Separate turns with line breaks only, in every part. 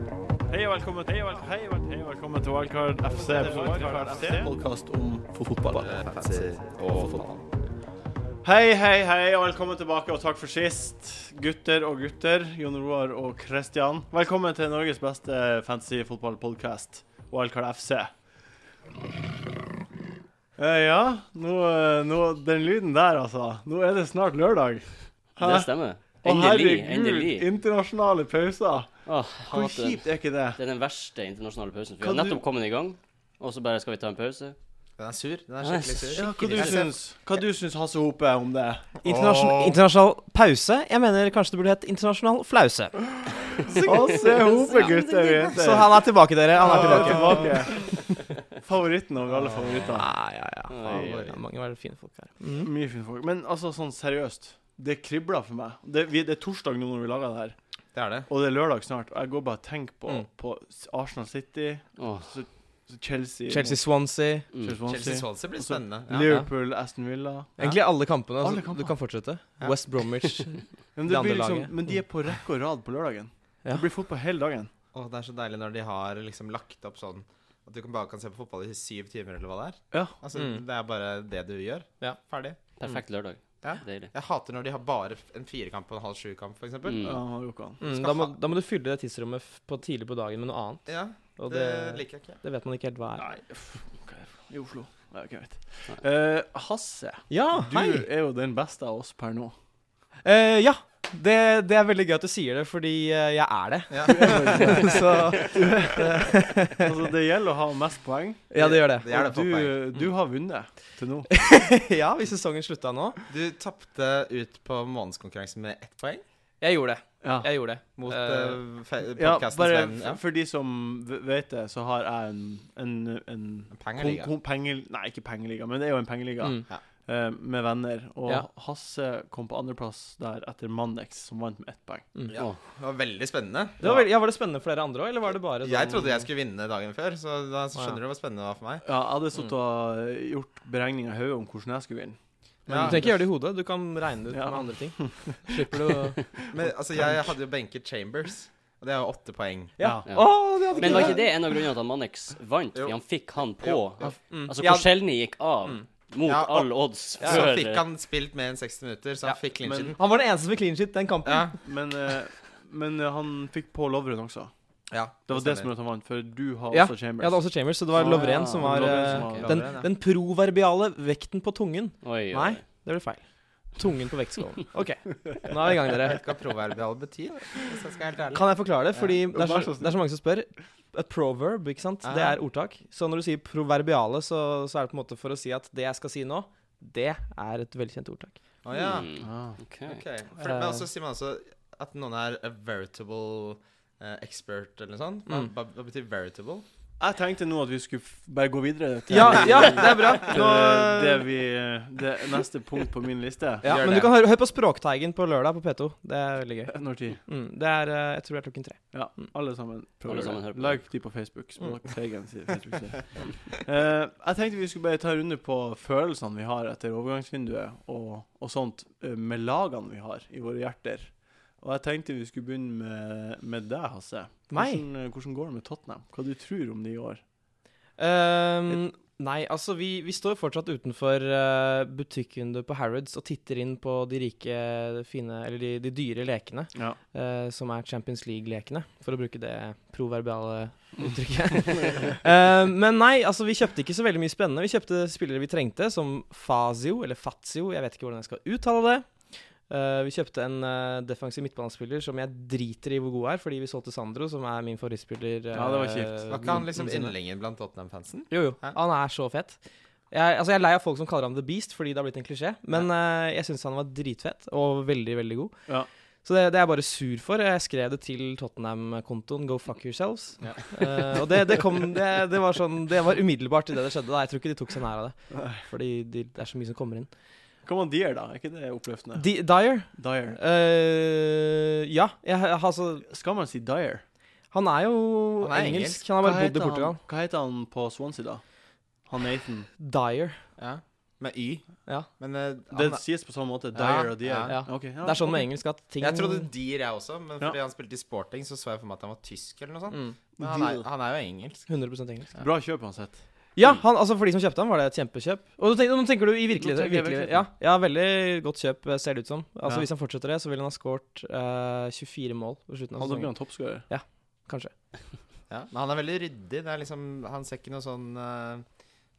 og velkommen til Hei og velkommen, hei og velkommen, hei og velkommen til Wildcard FC. Wildcard FC.
Podkast om fotball.
Hei, hei, hei, og velkommen tilbake, og takk for sist. Gutter og gutter, Jon Roar og Kristian. Velkommen til Norges beste fancy fotballpodkast, Wildcard FC. Eh, ja, nå, eh, nå, den lyden der, altså. Nå er det snart lørdag. Hæ?
Det stemmer.
Å,
Endelig.
herregud,
endelig.
internasjonale pauser.
Åh,
Hvor
hater den.
kjipt er ikke det?
Det er den verste internasjonale pausen. for Vi
Kan
har nettopp
du-
kommet i gang, og så bare skal vi ta en pause.
Den er sur. Den er
Den er
skikkelig sur.
Ja, hva du
Skikkelig.
syns, hva du syns Hasse Hope om det?
Åh.
Internasjonal, internasjonal pause? Jeg mener kanskje det burde hett internasjonal flause.
Å, se Hope, gutter og jenter.
Så han er tilbake, dere.
Ah,
Han er tilbake.
Favoritten over alle favoritter. Mm.
Ja, Ah, ja, ja.
Oi,
oi.
Det er mange veldig fine folk her.
Mye fine folk. Men altså, sånn seriøst. Det kribler for meg. Det, vi, det er torsdag nå når vi lager det her,
Det er det.
og det er lørdag snart. Og jeg går bare og tenker på,
Mm.
på Arsenal City,
Åh,
så Chelsea,
Chelsea Swansea.
mm.
Chelsea, Swansea,
Chelsea Swansea blir
Også
spennende.
Liverpool, Aston Villa
Egentlig alle kampene.
Alle
Altså,
kamper.
du kan fortsette.
Ja.
West Bromwich.
Men,
Det
det
andre
blir liksom,
laget. Mm.
men de er på rekke og rad på lørdagen.
Ja.
Det blir fotball hele dagen.
Åh, det er så deilig når de har liksom lagt opp sånn at du kan bare kan se på fotball i syv timer, eller hva det er.
Ja.
Altså,
Mm.
Det er bare det du gjør.
Ja.
Ferdig.
Perfekt lørdag.
Ja.
Deilig.
Jeg hater når de har bare f- en firekamp og en halv sju-kamp, f.eks. eksempel
Ja,
Mm.
han har jo ikke han.
Mm,
Skal
da, må,
ha-
da må du fylle det tidsrommet f- på tidlig på dagen med noe annet.
Ja,
Og
det
det,
liker jeg ikke.
det vet man ikke helt hva er.
Nei, uff, hva er det for noe? I Oslo. Nei, jeg vet. Eh, Hasse,
Ja,
du
hei!
er jo den beste av oss per nå.
Eh, ja. Det, det er veldig gøy at du sier det, fordi eh, jeg er det.
Ja.
Så
Altså, det gjelder å ha mest poeng.
ja, det gjør det.
Det er det
og
fotball.
du, du har vunnet til nå.
Ja, hvis sesongen slutta nå.
Du tapte ut på månedskonkurransen med ett poeng
Jeg gjorde det.
Ja.
Jeg gjorde det.
mot
Eh,
uh,
Ja,
podkastens
bare
venn.
f- for de som v- vet det, så har jeg en, en, en
Pengeliga.
kon- kon- pengel, nei, ikke pengeliga, men det er jo en pengeliga
Mm.
eh, med venner. Og
Ja.
Hasse kom på andreplass der etter Mannex, som vant med ett poeng.
Ja. Det var veldig spennende.
Det var, veld- ja, var det spennende for dere andre òg, eller var det bare sånn-
Jeg trodde jeg skulle vinne dagen før, så da
Å, ja.
skjønner du hvor spennende det var for meg.
Ja, jeg hadde sittet og gjort beregninger i hodet om hvordan jeg skulle vinne.
Men Du trenger ikke gjøre det i hodet, du kan regne det ut
Ja.
med andre ting. Slipper du å
Men altså, jeg hadde jo benket Chambers, og det er jo åtte poeng.
Ja.
Ja.
Å, det hadde
Men var ikke det en av grunnene til at Mannix vant?
Jo.
Fordi han fikk han på.
Jo, jo.
Mm.
Altså,
Ja,
Korselny gikk av mot
Mm. Ja, og-
all odds
Så
før
fikk han spilt mer enn 60 minutter, så han fikk
men-
clinchen.
Han var den eneste med clean shit den kampen.
Ja.
Men, eh, men eh, han fikk på Lovren også.
ja.
Det var det som gjorde at han vant, for du har
Ja,
også Chambers.
Jeg hadde også Chambers, så det var
Ah, ja.
Lovren som var,
Lovren som
eh,
var-
den,
Lovren, ja.
den proverbiale vekten på tungen.
Oi, oi.
Nei, det ble feil. Tungen på vektskålen. OK, nå er vi i gang, dere.
Jeg vet ikke hva proverbial betyr, hvis jeg skal være helt ærlig.
Kan jeg forklare det? Fordi det er,
Vær så
så,
snill.
det er så mange som spør. Et proverb, ikke sant? Det
Ja.
er ordtak. Så når du sier proverbiale, så, så er det på en måte for å si at det jeg skal si nå, det er et velkjent ordtak.
Å ja.
Mm.
Ah.
Ok.
Ok. For,
Eh.
men også sier man også at noen er a veritable eh, expert, eller noe sånt. Hva,
Mm.
hva- hva betyr veritable?
Jeg tenkte nå at vi skulle f- bare gå videre til
Ja, ja, det er bra.
til
Nå
det, vi, det neste punkt på min liste.
Ja,
Gjør
men
det.
du kan høre, hør på Språkteigen på lørdag på P2. Det er veldig gøy.
Når tid?
Mm, det er eh, Jeg tror det er klokken tre.
Ja, alle sammen. prøver
Alle
det.
sammen hører på.
Like de på Facebook.
Mm.
Språkteigen sier Facebook-side. Eh, jeg tenkte vi skulle bare ta en runde på følelsene vi har etter overgangsvinduet og, og sånt, eh, med lagene vi har i våre hjerter. Og jeg tenkte vi skulle begynne med, med deg, Hasse.
Meg?
Hvordan, eh, hvordan går det med Tottenham? Hva du tror om de i år?
Ehm, nei, altså, vi, vi står fortsatt utenfor eh, butikkvinduet på Harrods og titter inn på de rike, fine Eller de, de dyre lekene,
Ja.
eh, som er Champions League-lekene, for å bruke det proverbiale uttrykket. Ehm, men nei, altså, vi kjøpte ikke så veldig mye spennende. Vi kjøpte spillere vi trengte, som Fazio, eller Fazio, jeg vet ikke hvordan jeg skal uttale det. Eh, vi kjøpte en eh, defensiv midtbanespiller som jeg driter i hvor god er, fordi vi solgte Sandro, som er min favorittspiller.
Ja, det var
eh,
kjipt.
Var ikke han liksom
noensinne.
yndlingen blant Tottenham-fansen?
Jo, jo.
Hæ?
Han er så fet. Jeg, altså jeg er lei av folk som kaller ham The Beast, fordi det har blitt en klisjé. Men eh, jeg syns han var dritfett, og veldig, veldig god.
Ja.
Så det, det er jeg bare sur for. Jeg skrev det til Tottenham-kontoen, go fuck yourselves.
Ja.
Eh, og det, det kom det, det var sånn Det var umiddelbart idet det skjedde. Da. Jeg tror ikke de tok seg nær av det. Fordi de, det er så mye som kommer inn.
Hva med Dier, da? Er ikke det oppløftende?
Di Dyer?
Dier.
eh, ja. Jeg, jeg- altså,
Skal man si Dier?
han er jo
Han er
engelsk.
engelsk.
Han har
Hva
bare bodd
heter
i Portugal.
Han, hva heter han på Swansea, da? Han Nathan.
Dyer.
Ja. Med Y.
Ja.
Men eh,
Det
han,
sies på samme måte.
Ja,
Dyer og Dier.
ja.
Ja.
Ok, ja,
Det er sånn
ok.
med engelsk at ting
jeg trodde Dier, jeg også, men
Ja.
fordi han spilte i Sporting, så så jeg for meg at han var tysk eller noe sånt.
mm,
Men han er,
Deal.
han er jo engelsk.
100 engelsk.
Ja.
Bra kjøp uansett.
Ja, han, altså for de som kjøpte han var det et kjempekjøp. Og du tenker, nå tenker du i virkelig,
Nå tenker jeg
virkelig
virkelig.
ja, ja, veldig godt kjøp, eh, ser det ut som.
Ja.
Altså Hvis han fortsetter det, så vil han ha skåret eh, 24 mål på slutten av
Han blir
sesongen.
en toppskårer.
Kanskje.
Ja. Men han er veldig ryddig. Det er liksom, han ser ikke noe sånn eh,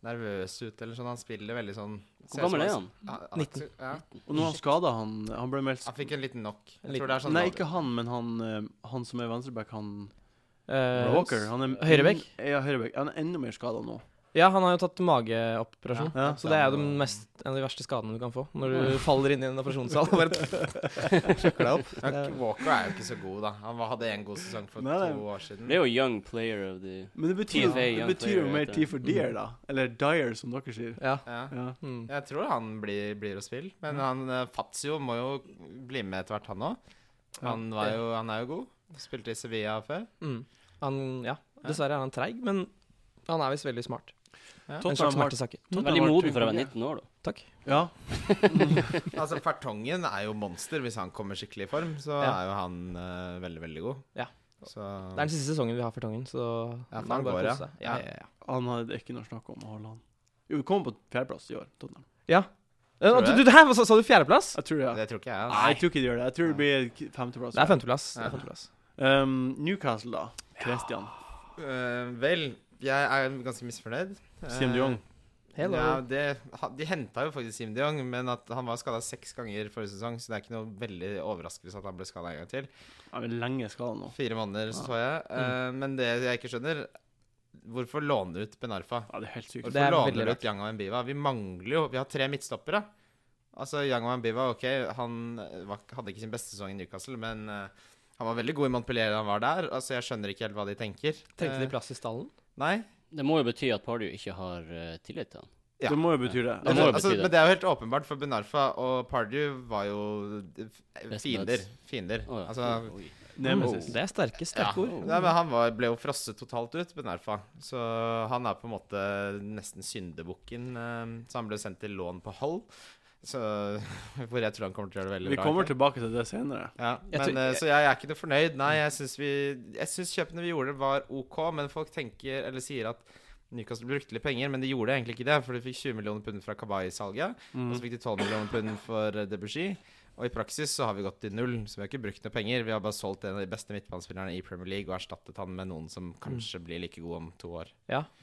nervøs ut eller sånn. Han spiller veldig sånn ser ut
Hvor gammel
som han-
er han?
Ja,
19.
Ja.
Og nå har han skada han Han ble meldt
Han fikk en liten knock.
En
Jeg tror
liten-
det er sånn
Nei, ikke han, men han, eh, han som er venstreback, han
Eh,
Walker. Han er
Høyrebekk?
Ja, høyrebekk. Han er enda mer skada nå.
Ja, han har jo tatt mageoperasjon.
Ja.
Så det er jo den mest, en av de verste skadene du kan få. Når du faller inn i en operasjonssal. og Bare,
Men Walker er jo ikke så god, da. Han var- hadde en god sesong for
Nei, nei.
to år siden.
Det er jo Young Player of the
Men det betyr,
TFA,
det
ja,
betyr jo
det
mer
vet jeg.
tid for Deer, da. Eller Dyer, som dere sier.
ja.
Ja.
Ja.
mm.
Jeg tror han blir, blir å spille, men han eh, Fazio må jo bli med etter hvert, han òg. Han, var jo- han er jo god. Spilte i Sevilla før.
Mm. Han, ja. Dessverre er han treig, men han er visst veldig smart. En slags
Tottenham har-
smerte sakke.
Tottenham
Veldig
har
moden
to
for å være
konge.
19 år, da.
Takk.
Ja.
Altså, Fertongen er jo monster. Hvis han kommer skikkelig i form, så
Ja.
er jo han eh, veldig, veldig god.
Ja.
Så
Det er den siste sesongen vi har for Tangen, så
Ja, for
nå er
han
det bare
går,
å
ja.
kose seg. Ja, ja, ja.
Han hadde ikke noe snakk om å holde han. Jo, vi kom på fjerdeplass i år, Tottenham.
Ja.
Tror
Eh, du,
du
du, hæ, hva sa, sa du fjerdeplass?
Jeg tror det.
det tror ikke jeg.
Nei,
Altså.
jeg tror ikke de gjør det. Jeg tror det blir k- femteplass.
Det er femteplass. Det
Ja.
er femteplass.
Um, Newcastle, da. Christian.
Eh, vel, jeg er ganske misfornøyd. Eh,
Sim de Jong.
Hello.
Ja, det, ha- de henta jo faktisk Sim de Jong, men at han var skada seks ganger forrige sesong, så det er ikke noe veldig overraskelse at han ble skada en gang til.
Han er lenge skada nå.
Fire måneder, så så jeg.
Mm.
Eh, Men det jeg ikke skjønner, hvorfor låne ut Ben Arfa?
Ja, det er helt sykt.
Det
Hvorfor
er
låner du
veldig rart.
ut Yang og Mbiva? Vi mangler jo Vi har tre midtstoppere. Altså, Yang og Mbiva, ok, han eh, var, hadde ikke sin beste sesong i Newcastle, men eh, han var veldig god i Montpellier da han var der. Altså, jeg skjønner ikke helt hva de tenker.
Trengte de
Eh,
plass i stallen?
Nei.
Det må jo bety at Pardew ikke har eh, tillit til han.
Ja.
Det må jo bety det.
Det
Altså,
må jo
altså,
bety det.
men det er jo helt åpenbart, for Benarfa og Pardew var jo eh,
Best
fiender.
buds.
Fiender.
Å, ja.
Altså
Oi.
Nemesis.
Oh. Det er sterke,
ja.
sterke ord.
Nei, men han var, ble jo frosset totalt ut, Benarfa. Så han er på en måte nesten syndebukken. eh, Så han ble sendt til lån på Hull, så, hvor jeg tror han kommer til å gjøre det veldig
Vi
bra.
kommer
egentlig.
tilbake til det senere.
ja,
Jeg
men,
tror-
eh, så jeg, er ikke noe fornøyd. Nei, jeg syns vi Jeg syns kjøpene vi gjorde, var OK, men folk tenker, eller sier at Newcastle brukte litt penger, men de gjorde egentlig ikke det, for de fikk 20 millioner pund fra Kabay-salget.
mm,
Og så fikk de 12 millioner pund for eh, Debussy. Og i praksis så har vi gått til null, så vi har ikke brukt noe penger. Vi har bare solgt en av de beste midtbanespillerne i Premier League og erstattet han med noen som kanskje blir like god om to år.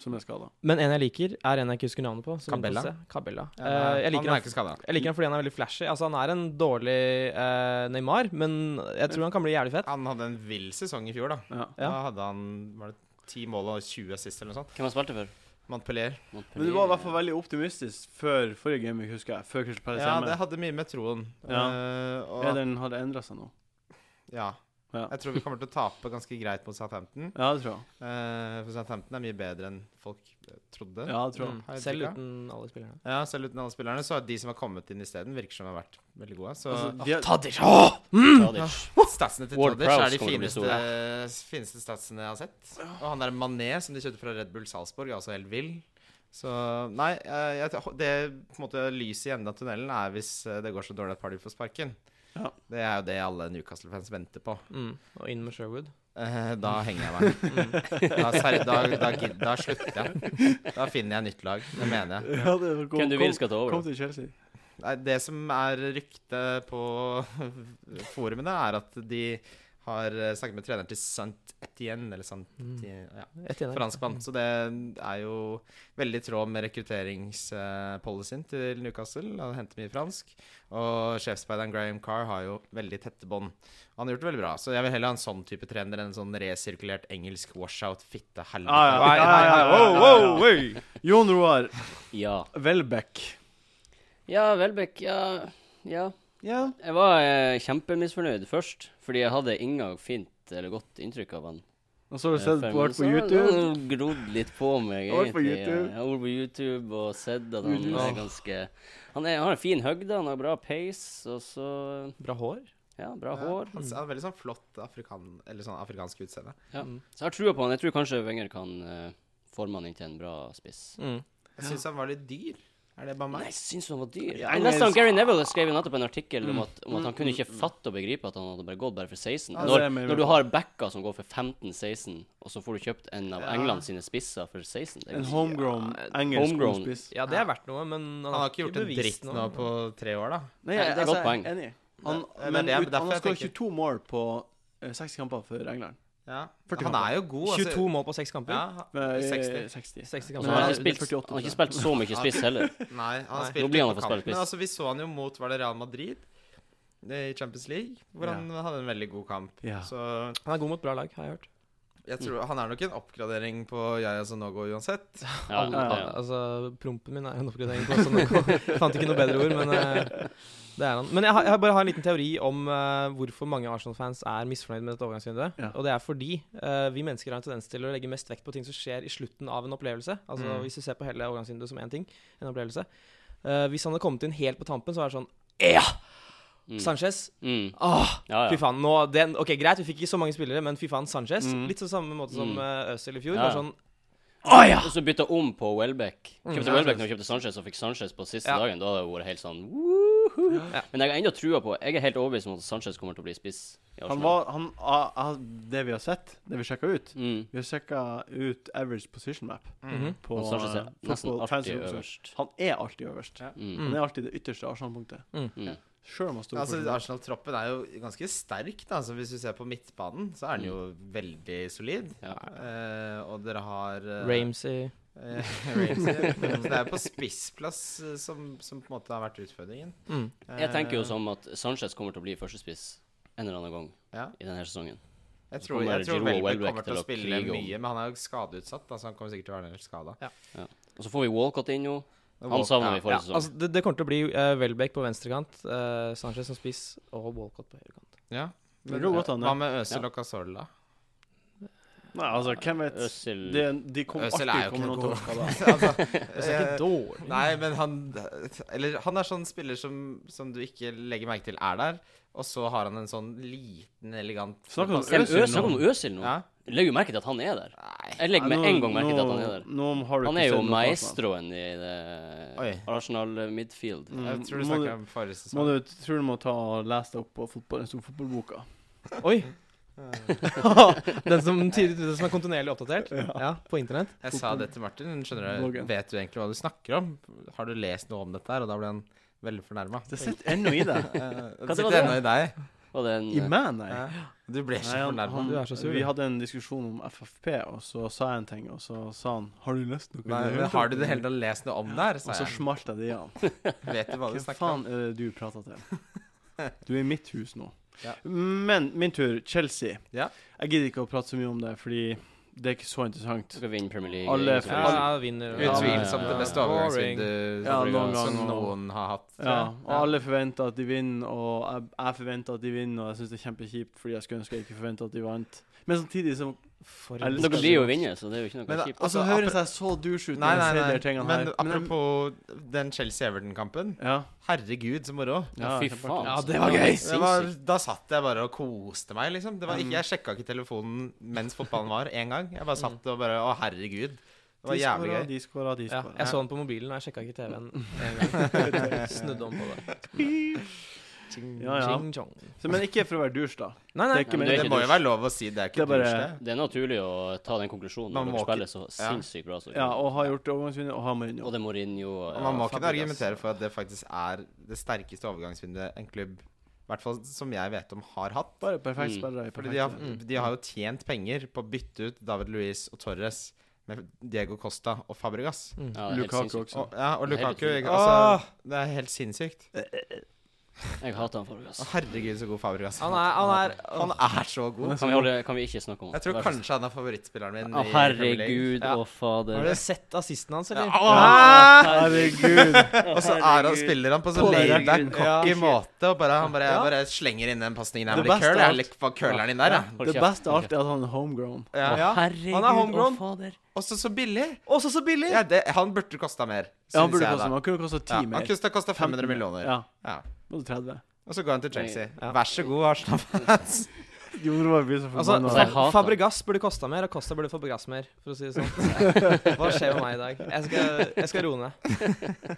Som er skada.
Men en jeg liker, er en jeg ikke husker navnet på. som vi får
Cabella?
se. Cabella.
Ja,
Eh, jeg,
han
liker
er
han,
ikke skada.
jeg liker han fordi han er veldig flashy. Altså, han er en dårlig eh, Neymar, men jeg tror han kan bli jævlig fett.
Han hadde en vill sesong i fjor, da.
Ja.
Ja.
Da hadde han var det 10 mål og 20 assist eller noe sånt.
Hvem han spilte for?
Montpellier.
Men du var i hvert fall veldig optimistisk før forrige game, husker jeg. Før Crystal Palace
Ja, det
hjemme.
hadde mye med troen.
Ja.
Eh, og,
Ja, den hadde endra seg nå.
ja.
Ja.
Jeg tror vi kommer til å tape ganske greit mot Southampton.
Ja, det tror jeg.
Eh, for Southampton er mye bedre enn folk eh, trodde.
Ja, det tror jeg.
Mm.
Har jeg
Selv
inntrykk av.
uten alle spillerne.
Ja, selv uten alle spillerne, så har de som har kommet inn isteden, virker som de har vært veldig gode. Så
Altså, de har,
Tadic! Åh!
statsene til
Ward
Tadic er de
Prowse kommer til å
fineste, fineste statsene jeg har sett. Og han der Mané, som de kjøpte fra Red Bull Salzburg, er også helt vill. Så nei, eh, jeg, t- det på en måte lyset i enden av tunnelen er hvis eh, det går så dårlig at Party får sparken.
Ja.
Det er jo det alle Newcastle-fans venter på.
Mm. Og inn med Sherwood. Mm.
Eh, da henger jeg meg. Da, ser- da, da, gid- da slutter jeg. Da finner jeg nytt lag. Det mener jeg.
ja, det var-
Hvem du vil skal ta
kom,
over?
kom til Chelsea.
Nei, det som er ryktet på forumene, er at de har eh, snakket med treneren til Saint Etienne, eller Saint
Mm.
ja,
Ett igjen her.
franskmann. Så det er jo veldig i tråd med rekrutteringspolicyen til Newcastle. Han henter mye fransk. Og sjefsspeideren Graham Carr har jo veldig tette bånd. Han har gjort det veldig bra, så jeg vil heller ha en sånn type trener enn en sånn resirkulert engelsk washout-fitte-helvete.
Ah, ja.
Nei, nei, nei,
Wow, wow, Jon Roar
Ja.
Welbeck.
Ja, Welbeck, ja. ja.
Ja.
Jeg var eh, kjempemisfornøyd først, fordi jeg hadde inga fint eller godt inntrykk av han.
Og så har du
Eh,
sett
før,
på
men
vært
så
på
har
YouTube.
han grodd litt på meg,
Vært på
egentlig. ja.
YouTube.
Jeg har vært på YouTube og sett at han
YouTube.
er ganske Han er, har en fin høgde, han har bra pace, og så
Bra hår.
Ja, bra hår.
Han har veldig sånn flott afrikan, eller sånn afrikansk utseende.
Ja. Så jeg har trua på han. Jeg tror kanskje Wenger kan eh, forme han inn til en bra spiss.
Mm.
Jeg syns han var litt dyr. Er det bare
Nei,
meg?
jeg syns han var dyr.
Ja,
Jeg leste
engelsk.
om Gary Neville skrev jo nettopp en artikkel om
Mm,
at, om at han kunne ikke fatte og begripe at han hadde bare gått bare for 16.
Ja, det
når,
er mer-
når du har backer som går for 15-16, og så får du kjøpt en av
Ja.
England sine spisser for 16 det er
En
jo-
homegrown engelsk
homegrown.
godspiss.
Ja, det er verdt noe, men
Han har ikke gjort en
bevist
dritt
noe. Mm.
nå på tre år, da.
Nei,
Ja, det er godt
jeg
poeng.
er Enig. Han,
Det- det er
men ut,
det-
han
derfor
har
jeg
skåret
tenker-
22 mål på eh, 60 kamper for England.
Ja.
40
Han er jo god.
22 mål på seks kamper.
altså- Ja,
Eh,
60.
60.
60
Og
Men
så
kamper.
har
Nei, det
han ikke
altså, er
spilt,
48,
han har ikke spilt så mye spiss heller.
Nei, han har
Nei.
spilt
Nå blir han
litt på
å få spille
kamp. Men
spiss.
altså, vi så han jo mot var det Real Madrid eh, i Champions League, hvor han hadde en veldig god kamp.
Ja.
Så
Han er god mot bra lag, har jeg hørt.
jeg tror han er nok en oppgradering på Yaya Sanogo uansett.
Ja,
Alle-
ja,
alle- Altså, prompen min er en oppgradering på sånn Jeg Fant ikke noe bedre ord, men eh, det er han. Men jeg, har, jeg har bare har en liten teori om eh, hvorfor mange Arsenal-fans er misfornøyd med dette overgangsvinduet.
Ja.
Og det er fordi eh, vi mennesker har en tendens til å legge mest vekt på ting som skjer i slutten av en opplevelse. Altså
Mm.
Hvis du ser på hele overgangsvinduet som én ting, en opplevelse. Eh, hvis han hadde kommet inn helt på tampen, så var det sånn Ja!
Mm.
Sanchez!
Mm.
Åh,
ja,
Fy
ja.
faen, nå, den, ok Greit, vi fikk ikke så mange spillere, men fy faen, Sanchez.
Mm.
Litt på samme måte som
Mm.
eh, Øzil i fjor.
Ja,
Bare
ja.
sånn
Og så bytta om på Welbeck. Kjøpte
Mm.
ja,
Welbeck når vi kjøpte Sanchez, og fikk Sanchez på siste
Ja.
dagen. Da hadde det vært helt sånn woohoo.
Ja.
Men jeg har ennå trua på Jeg er helt overbevist om at Sanchez kommer til å bli spiss i Arsenal.
Han var han, ah, ah, Det vi har sett, det vi sjekka ut
mm.
Vi har sjekka ut average position map
mhm.
på
Og Sanchez
eh,
er nesten
football
alltid
transfer.
øverst.
Han er alltid øverst.
Mm.
Han er alltid det ytterste avstandpunktet.
Mm.
Mm.
Sjøl om han står
Altså, Arsenal-troppen er jo ganske sterk. Da. Altså, hvis du ser på midtbanen, så er den jo veldig solid.
Mm. Ja.
Eh, og dere har eh,
Ramsey
eh, Ramsey. så det er jo på spissplass eh, som, som på en måte har vært utfordringen.
mm.
Jeg tenker jo
Eh,
sånn, som at Sanchez kommer til å bli førstespiss en eller annen gang
Ja.
i denne sesongen.
Jeg
Så
tror,
kommer
jeg tror
Giroud
Welbeck
og Welbeck
kommer til
til
å
å
spille
krige om.
mye, men han er jo skadeutsatt. Altså, han kommer sikkert til å være en del skada.
Og så får vi Walcott inn nå. Han savner vi
Ja,
forrige sesong.
altså det, det kommer til å bli eh, Welbeck på venstrekant, eh, Sanchez som spiss og Walcott på høyrekant.
Ja.
Det går godt an, det.
eh, Hva med Øzil og Casorla?
Nei, altså, hvem vet?
Øzil-
Det, de kommer
Øzil
alltid
er jo ikke
kommer
noe
noen til å skade.
altså,
Det er ikke dårlig.
Nei, men han Eller han er sånn spiller som, som du ikke legger merke til er der, og så har han en sånn liten, elegant
Snakk om
Selv
Øzil
Ø- Snakk
nå.
om Øzil nå.
Ja?
Legger jo merke til at han er der.
Nei.
Jeg legger med
Nei,
en
nå-
gang merke til at han er
nå-
der.
nå har du
Han
ikke
er jo
sett noe altså. på
maestroen i det
Oi.
Arsenal midfield.
Mm.
Jeg tror
Må
du
du-
snakka om forrige
Må
sesong.
du, tror du må ta og lese deg opp på fotball, den store fotballboka.
Oi! den, som, tidlig- den som er kontinuerlig oppdatert? Ja, på internett?
Jeg sa det til Martin. men Skjønner du,
Bloggen.
Vet du egentlig hva du snakker om? Har du lest noe om dette her? Og da ble han veldig fornærma.
Det sitter ennå i deg.
Det
Hva det var
sitter ennå i deg.
Og den
I meg, nei.
Ja. Du ble
Nei,
så
han,
fornærma.
han,
Du er så sur,
vi
du.
hadde en diskusjon om FFP, og så sa jeg en ting, og så sa han Har du lest noe? i
Nei,
det
men
hele
har du
tatt?»
det hele tatt lest noe om det her?
Og
Sa
så
jeg.
smalt jeg det i han.
Vet du hva du
Hvem
snakker om?
faen er det du prater til? Du er i mitt hus nå.
Ja.
Men min tur, Chelsea.
Ja.
Jeg gidder ikke å prate så mye om det, fordi det er ikke så interessant.
eh, skal vinne Premier League.
Alle-
ingen som bryr seg.
Ja, vinner.
Ja,
Utvilsomt det beste overgangsvinduet
Ja, noen
som
gang, og-
noen har hatt. tror
Ja,
jeg.
og alle forventer at de vinner, og jeg, jeg forventer at de vinner, og jeg syns det er kjempekjipt, fordi jeg skulle ønske jeg ikke forventa at de vant. Men samtidig så
For
Jeg
en-
elsker
Dere blir jo å vinne, så det er jo ikke noe
Men da-
kjipt.
Altså,
Altså,
høres jeg så douche ut
Nei,
når
nei,
jeg sier de
nei.
tingene
Men
her.
apropos den Chelsea-Everton-kampen.
ja,
Herregud, så moro.
ja,
Ja, fy
kjempeartig.
faen.
Ja,
altså.
det var gøy.
helt
Det var,
sinnssykt.
da satt jeg bare og koste meg, liksom. Det var
Mm.
ikke, jeg sjekka ikke telefonen mens fotballen var, én gang. Jeg bare satt og bare Å, herregud. Det var jævlig gøy.
De skåra, de
Ja,
skåra.
jeg så den på mobilen, og jeg sjekka ikke TV-en en gang. Snudde om på det.
Ja, ja.
Ching chong.
Så, men ikke for å være douche, da.
Nei, nei.
Det er ikke
men
meningen.
Det må jo være lov å si det er
Det
ikke
er bare-
dusj, det.
Det er naturlig å ta den konklusjonen
Man
når
må
dere
ikke-
spiller så
Ja.
sinnssykt bra. Så.
Ja, og har gjort overgangsvinner, og har
Og
Mourinho.
det er Mourinho og
Og man må
ja,
kunne
Fabregas.
argumentere for at det faktisk er det sterkeste overgangsvinduet en klubb, i hvert fall som jeg vet om, har hatt.
Bare perfekt
Mm.
spillere. i
Fordi
perfekt
de har,
tid.
de har jo tjent penger på å bytte ut David Luiz og Torres med Diego Costa og Fabregas.
Ja, det er helt
Lukaku
sinnssykt.
også.
Og, ja, og
Mm. Det er helt
Lukaku
utrolig.
altså, Det er helt sinnssykt.
Jeg hater han Fabregas.
Å, Herregud, så god Fabregas
Han er, han er
Han er så god.
Kan vi, holde, kan vi ikke snakke om han?
Jeg tror
Vær så snill.
kanskje han er favorittspilleren min.
Å,
i Premier League.
herregud
Ja.
og fader.
Har dere sett assisten hans, eller?
Ja.
Ah! Herregud.
Og så er han, spiller han på så
På
laidback,
herregud.
cocky måte. Og bare, han bare,
Ja.
bare slenger inn den pasningen der.
Det
Det
beste
curl,
av
jeg
alt-
liker curleren inn der,
Hold
Det
kjeft,
beste av
hold
alt er at han er homegrown.
ja.
Ja.
ja.
Herregud
Han er homegrown.
og fader.
Og så så billig!
Også så billig!
Ja, det, han burde kosta mer,
Ja, han
synes
burde
jeg
kosta
da.
Han kunne kosta ti
Ja, han
mer.
kunne kosta 500 millioner.
Ja,
Ja.
og 30.
Og så går han til Chelsea.
Ja.
Vær så god, Arsenal-fans.
Jo, det var blir så
Altså,
forbanna.
Jeg
Fa-
hater-
Fabregas burde kosta mer, og Costa burde Fabregas mer, for å si det sånn. Hva skjer med meg i dag? Jeg skal, jeg skal roe ned.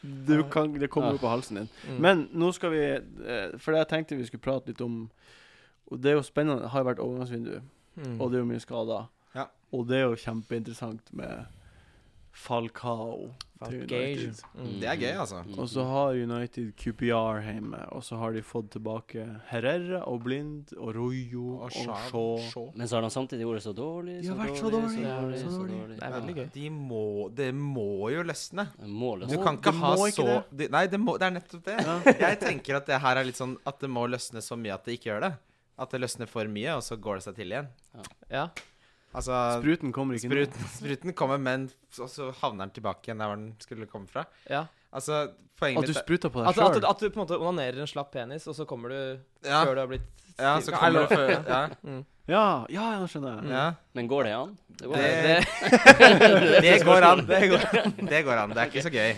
du kan, det kommer jo på halsen din.
Mm.
Men nå skal vi eh, For jeg tenkte vi skulle prate litt om Og det er jo spennende. Det har jo vært overgangsvindu,
Mm.
og det er jo mye skader.
Ja.
Og det er jo kjempeinteressant med Falcao. til
Falcao.
United.
Mm.
Det er gøy, altså.
Og så har United QPR hjemme, og så har de fått tilbake Herrera og Blind og Rojo og, Shaw.
Men så har de samtidig vært så dårlig,
De
så
har vært så
dårlig,
dårlig, så
så
dårlig.
dårlig.
Det er veldig gøy.
De må, det må jo løsne.
Målet altså.
Du
Må-
kan ikke
det
ha
må ikke
så de, Nei, det, må, det er nettopp det. Jeg tenker at det her er litt sånn at det må løsne så mye at det ikke gjør det. At det løsner for mye, og så går det seg til igjen.
Ja.
Altså,
Spruten kommer ikke nå.
spruten, spruten kommer, men så, så havner den tilbake igjen der hvor den skulle komme fra.
Ja.
Altså, poenget
At du
mitt er-
spruter på deg
At, at,
sjøl.
at du på en måte onanerer en slapp penis, og så kommer du
ja,
før du har blitt mm.
ja, så kommer det før ja,
Ja, ja, nå skjønner jeg.
ja.
Men går det an? Det går
Det-
an.
Det går an. Det går an. Det går an. Det er ikke så gøy.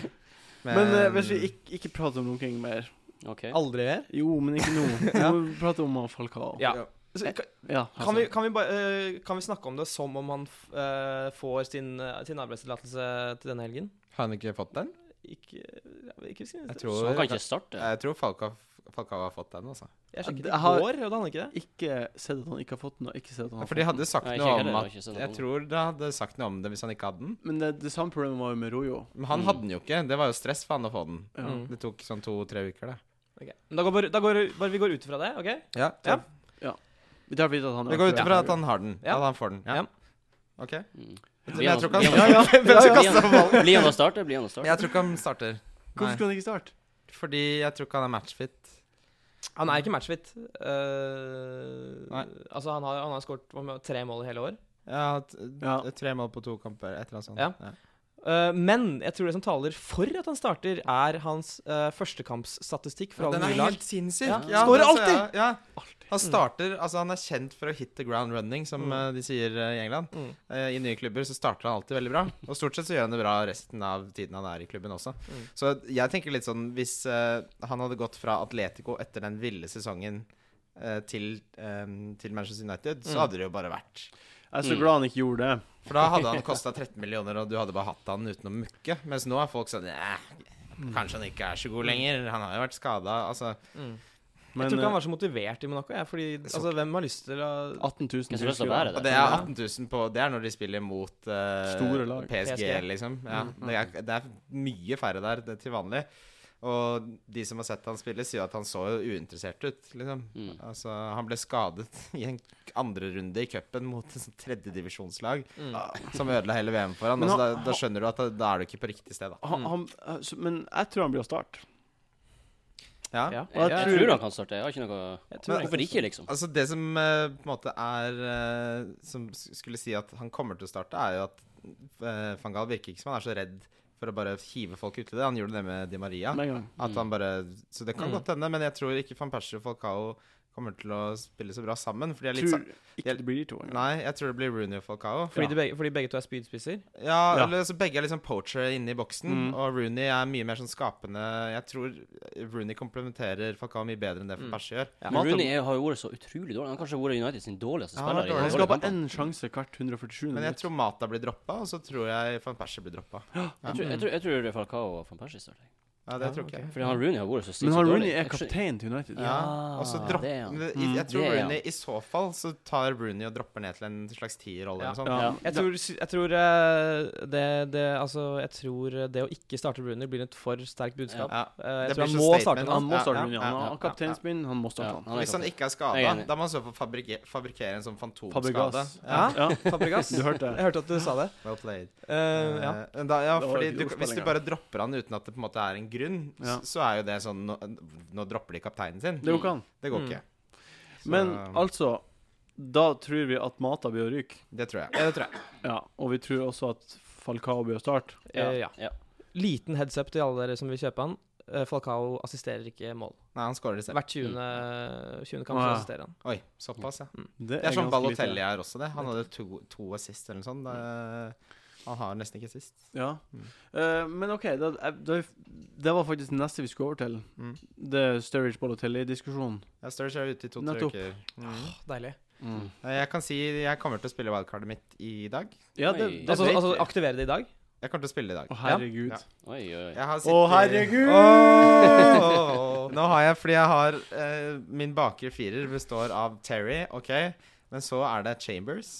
Men eh, hvis vi ikke, ikke prater om noe mer
Ok.
Aldri mer?
Jo, men ikke nå. Nå må vi prate om han Falcao.
Ja.
Ja.
Så, kan,
Ja,
kan, vi,
altså.
kan, vi bare, eh, kan vi snakke om det som om han f- eh, får sin, eh, sin arbeidstillatelse til denne helgen?
Har han ikke fått den?
Ikke, ja, Sånn ikke si-
Jeg
Så han
tror,
kan ikke starte?
jeg tror Falka, Falka har fått den, altså.
Jeg sjekket
Det
i
har-
går, og da hadde han ikke det.
altså, Ikke sett at han ikke har fått den, og ikke sett at han
Ja,
har
For de
fått
hadde sagt
Nei, ikke
noe
heller,
om
jeg har
at
ikke
sånn
sett
Jeg
noe.
tror de hadde sagt noe om det hvis han ikke hadde den.
den. Men det, det samme problemet var jo med Rojo.
Men han
Mm.
hadde den jo ikke. Det var jo stress for han å få den.
Ja.
Mm.
Det tok sånn to-tre uker, det.
Ok. Men Da går, bare, da går bare vi går ut fra det, OK?
Ja,
Ja.
Det har blitt at han
Vi går ut
akkurat-
ifra at han har den.
Ja.
At han får den. Ja.
Ja.
OK.
Mm.
Men
Blir
jeg
han-
tror ikke
blir
han
han-
Ja, ja,
Men
ja,
så
ja.
kastet han ballen.
Blir han å starte? Blir han å starte?
Jeg tror ikke han starter.
Hvorfor
Nei.
skulle han ikke starte?
Fordi jeg tror ikke han er matchfit.
Han er ikke matchfit. Eh,
Nei.
altså, han har, han har skåret hva med- tre mål i hele år.
Ja, t
Ja.
t- Tre mål på to kamper, et eller annet sånt.
Ja. Eh, men jeg tror det som taler for at han starter, er hans eh, førstekampsstatistikk fra alle
Den er
nye lag.
helt sinnssyk.
Ja.
Ja,
Skårer
altså,
alltid!
Ja, ja. Han starter Altså, han er kjent for å hit the ground running, som
Mm.
eh, de sier eh, i England.
Mm.
Eh, I nye klubber så starter han alltid veldig bra. Og stort sett så gjør han det bra resten av tiden han er i klubben også.
Mm.
Så jeg tenker litt sånn Hvis eh, han hadde gått fra Atletico etter den ville sesongen eh, til, eh, til Manchester United,
Mm.
så hadde det jo bare vært
Jeg er så
Mm.
glad han ikke gjorde det.
For da hadde han kosta 13 millioner, og du hadde bare hatt han uten å mukke. Mens nå er folk sånn "Eh, Kanskje han ikke er så god lenger. Han har jo vært skada. Altså,
Mm.
Men
jeg tror ikke han
eh,
var så motivert i Monaco. Jeg, fordi, altså, hvem har lyst til å
18 000
Jeg tror jeg skal være
og
der.
det er 18 000 på Det er når de spiller mot eh,
Store lag.
PSG,
PSG.
liksom. Ja,
Mm.
det, er, det er mye færre der det, til vanlig. Og de som har sett han spille, sier at han så jo uinteressert ut, liksom.
Mm.
Altså, han ble skadet i en andre runde i cupen mot et sånt tredjedivisjonslag
Mm.
som ødela hele VM for han.
Men
Altså, da,
han-
da skjønner du at da, da er du ikke på riktig sted, da.
Han, han, eh, så- men jeg tror han blir å starte.
Ja.
Ja.
Og
Jeg,
jeg
jeg
tror-
tror han kan starte. Jeg har ikke noe
Jeg tror
Men-
egentlig-
Hvorfor ikke, liksom?
Altså Det som eh, på en måte er eh, Som s- skulle si at han kommer til å starte, er jo at uh, van Gaal virker ikke som han er så redd for å bare hive folk uti det. Han gjorde det med Di Maria.
Med en gang.
At han bare Så det kan
Mm.
godt hende, men jeg tror ikke van Persie og Falcao kommer til å spille så bra sammen. Fordi jeg er litt
Tror
sa-
ikke det blir de to engang.
Nei, jeg tror det blir Rooney og Falcao.
Fordi,
Ja.
de begge, fordi begge to er spydspisser?
Ja,
Ja.
eller så begge er liksom poachere inne i
Mm.
boksen, og Rooney er mye mer sånn skapende Jeg tror Rooney komplementerer Falcao mye bedre enn det
Mm.
van Persie gjør.
Ja.
Men Rooney er, har jo vært så utrolig dårlig. Han har kanskje vært United sin dårligste
Ja, han har
spiller.
vært
i
Han
dårlige
skal ha
kamper.
bare én sjanse hvert 147.
Men jeg
minutt.
tror Mata blir droppa, og så tror jeg van Persie blir droppa.
Jeg tror, jeg tror, jeg tror Falcao og van Persie starter.
Ja, det tror ikke jeg.
Fordi han Rooney har vært så
Men
sykt
han
dårlig.
Rooney er
Jeg tror-
kaptein til United.
Ja, og så dropp-
det er han.
men
Mm.
i- Jeg tror
Det er
Rooney I så fall så tar Rooney og dropper ned til en slags tierrolle
Ja.
eller noe sånt.
Ja.
Jeg tror, jeg tror eh, det, det Altså, jeg tror det å ikke starte Brunier blir et for sterkt budskap.
Ja.
Eh, jeg
Det
tror
blir
han
så statement.
må starte
Han må
Ja,
starte
ja,
Rooney.
ja,
Han har
ja, ja.
kapteinsbind, han må
Ja,
starte han.
han er
Hvis han
kaptein.
ikke er
Jeg er
skada,
enig.
da må han så få fabrikke- fabrikkere en sånn fantomskade.
Fabregas.
Ja.
Ja,
Fabregas.
du hørte
Jeg hørte at du sa det.
Well played.
Eh, ja.
Eh, men da, ja,
Det var
fordi
litt
du,
ordspill
hvis du
engang.
bare dropper han uten at det på en måte er en grunn, s-
Ja.
så er jo det sånn Nå, nå dropper de kapteinen sin.
Det går ikke an.
Det går
Mm.
ikke. Så, um,
Men altså, da tror vi at Mata blir å ryke.
Det tror jeg.
Ja, det tror jeg.
Ja, og vi tror også at Falcao blir å starte.
Eh,
Ja.
ja. Liten heads up til alle dere som vil kjøpe han. Eh, Falcao assisterer ikke mål.
Nei, han scorer selv.
Hvert 20. 20. kamp
Å,
så
ja.
assisterer han.
Oi, såpass, ja.
Det
Det er sånn
ganske lite.
Balotelli er også det. Han hadde to, to assist eller noe sånt. da, Han har nesten ikke sist.
Ja.
Mm.
Eh, men OK, da, jeg- da, det var faktisk det neste vi skulle over til.
Mm.
Det er Sturridge Balotelli-diskusjonen.
Ja, Sturridge er ute i to-tre
Nettopp.
uker. Mm.
Deilig.
Jeg kan si jeg kommer til å spille wildcardet mitt i dag.
Ja, det,
Oi.
det
Altså,
vet
altså
vi.
aktivere det i dag?
Jeg kommer til å spille i dag.
Å, herregud.
Ja.
Oi, oi.
Jeg har
Å, herregud!
Åh! Nå har jeg, fordi jeg har eh, Min bakre firer består av Terry, OK. Men så er det Chambers.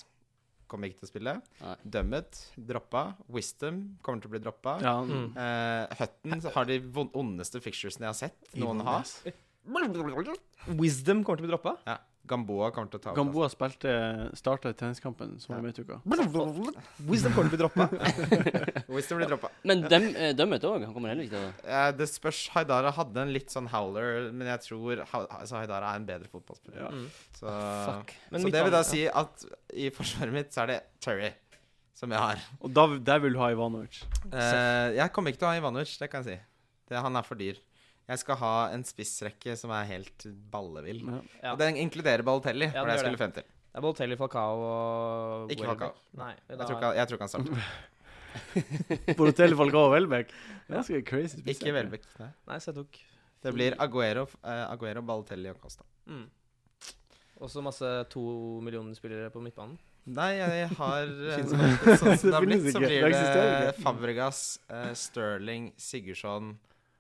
Kommer ikke til å spille.
Nei.
Dummet. Droppa. Wisdom kommer til å bli droppa.
Ja,
Mm.
Eh, Hutton har de von- ondeste fixturesene jeg har sett noen ha.
Ibanez.
Wisdom kommer til å bli droppa.
Ja. Gamboa kommer til å ta over.
Gamboa spilte starta i treningskampen som var i midtuka.
Wisdom kommer til å bli droppa.
Wisdom blir droppa.
Men dem, eh, dømmet òg. Han kommer heller ikke til å
Eh, det spørs. Haidara hadde en litt sånn howler, men jeg tror ha, altså Haidara er en bedre fotballspiller.
Ja.
Så,
Fuck.
Mm. Men
så det
midtbanen,
vil da
ja.
si at i forsvaret mitt så er det Terry som jeg har.
Og da, der vil du ha Ivanovic.
Eh, jeg kommer ikke til å ha Ivanovic, det kan jeg si. Det, han er for dyr. Jeg skal ha en spissrekke som er helt ballevill.
Ja.
Ja.
Og den inkluderer Balotelli,
Ja,
for
den
det jeg
gjør
skulle frem til.
Det er Balotelli, Falcao og
Ikke
Welbeck.
Falcao.
Nei,
Jeg tror ikke, han- jeg tror ikke han starter.
Borotel Falcao Welbeck. Ganske crazy. spiser.
Ikke Welbeck. nei.
Nei, så jeg tok
Det blir Aguero, eh, Aguero Balotelli og Costa.
mm. Også masse to millioner spillere på midtbanen.
Nei, jeg har eh,
Finnes
Sånn som det har
Det
blitt,
finnes
så
ikke.
blir
Det eksisterer
det
ikke. Mm.
Fabregas, eh, Sterling, Sigurdsson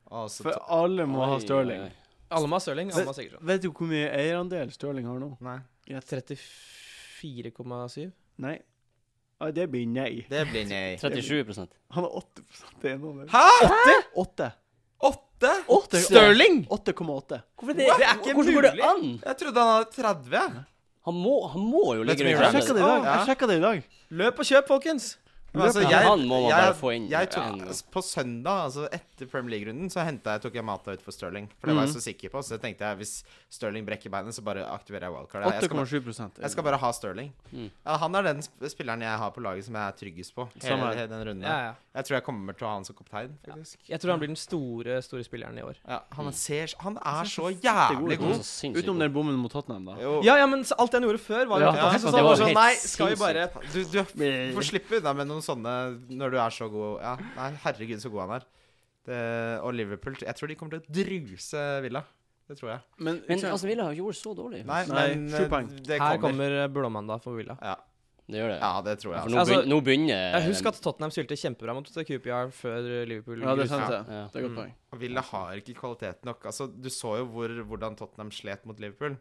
og så
For alle må ha
Oi,
Stirling.
oi, oi.
Alle må ha Stirling. Alle må ha Sigurdsson.
Vet du hvor mye eierandel Stirling har nå?
Nei.
34,7.
Nei. Ah, det blir nei.
Det blir nei.
37
Han har 80 eiendom.
Hæ?!
8?
Åtte?!
8?
Stirling!
8,8.
Hvorfor
det- det er ikke
Hvordan går det
mulig.
an?
Jeg trodde han hadde 30.
Han må, han må jo
Vet du
ligge
mye
rundt
Jeg sjekka
Ramsey.
det i dag. Jeg sjekket det i dag.
Løp og kjøp, folkens!
Men altså,
Ja,
jeg,
han må man
jeg,
bare få inn.
Jeg tok,
Ja.
altså, på søndag, altså etter Premier League-runden, så hentet jeg, tok jeg Mata ut for Stirling. For det
Mm.
var jeg
Mhm.
så sikker på. Så jeg tenkte jeg, hvis Stirling brekker beinet, så bare aktiverer jeg wildcard. Jeg, skal,
8,7
bare- jeg skal bare ha Stirling.
Mhm.
Ja, han er den sp- spilleren jeg har på laget som jeg er tryggest på.
Samme
Hele,
her.
hele den runden
Ja,
her.
ja.
Jeg tror jeg kommer til å ha han som kaptein, faktisk.
Jeg tror han blir den store, store spilleren i år.
Ja, han,
Mhm.
ser, han
Han
er
ser
så
så
jævlig
god ut. altså.
god.
Utenom den bommen mot Tottenham, da.
Jo. altså,
Ja, ja, men så alt han gjorde før, var jo
Ja,
fantastisk.
ja,
Så han
det
var
var
helt
sånn, nei, skal vi bare
Du, du får slippe unna med noen sånne når du er så god. Ja, nei, herregud, så god han er. Det, og Liverpool Jeg tror de kommer til å druse Villa. Det tror jeg.
Men,
Men altså, Aston Villa har ikke gjort så dårlig.
Nei,
Nei,
men
sju
eh,
poeng.
det
Her
kommer.
kommer eh, blåmandag for Villa.
Ja,
Det gjør det.
ja, det tror jeg.
For nå,
Altså,
begyn nå begynner
Jeg husker at Tottenham stilte kjempebra mot QPR før Liverpool.
ja, det er
gruset.
sant, det.
ja.
Det er
Mm.
godt poeng.
Altså. Villa har ikke kvalitet nok. Altså, du så jo hvor, hvordan Tottenham slet mot Liverpool.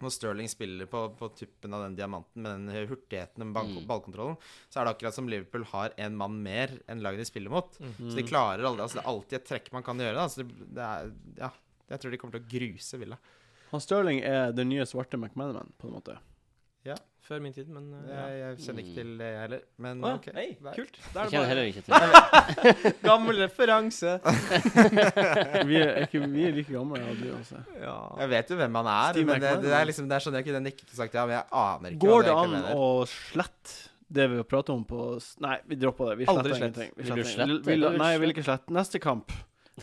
Når Sterling spiller på, på tuppen av den diamanten med den hurtigheten og ball
Mm.
ballkontrollen, så er det akkurat som Liverpool har en mann mer enn laget de spiller mot.
Mm.
Så de klarer aldri Altså, det er alltid et trekk man kan gjøre. Da. Så det, det er Ja. Jeg tror de kommer til å gruse Villa.
Han Stirling er den nye svarte McManaman, på en måte.
Før min tid, men uh,
Jeg, jeg kjenner ikke
Mm.
til det, jeg heller. Men
Å ja,
OK.
hei,
Nei.
kult. Da
Jeg
er det
kjenner
bare
heller ikke til
gammel referanse.
Vi er, er ikke, vi er like gamle, jeg og du altså. også.
Ja.
Jeg vet jo hvem han er,
Steve
men det,
McMahon.
det er liksom Det er sånn jeg kunne nikket og sagt ja, men jeg aner ikke
Går
hva
det
egentlig
an
mener.
å slette det vi har pratet om på s- Nei, vi dropper det. Vi sletter
Aldri slett.
ingenting. Vi
Vil du
sletter
slette,
ingen- vil-
eller vil du
Nei, jeg vil ikke slette. Neste kamp.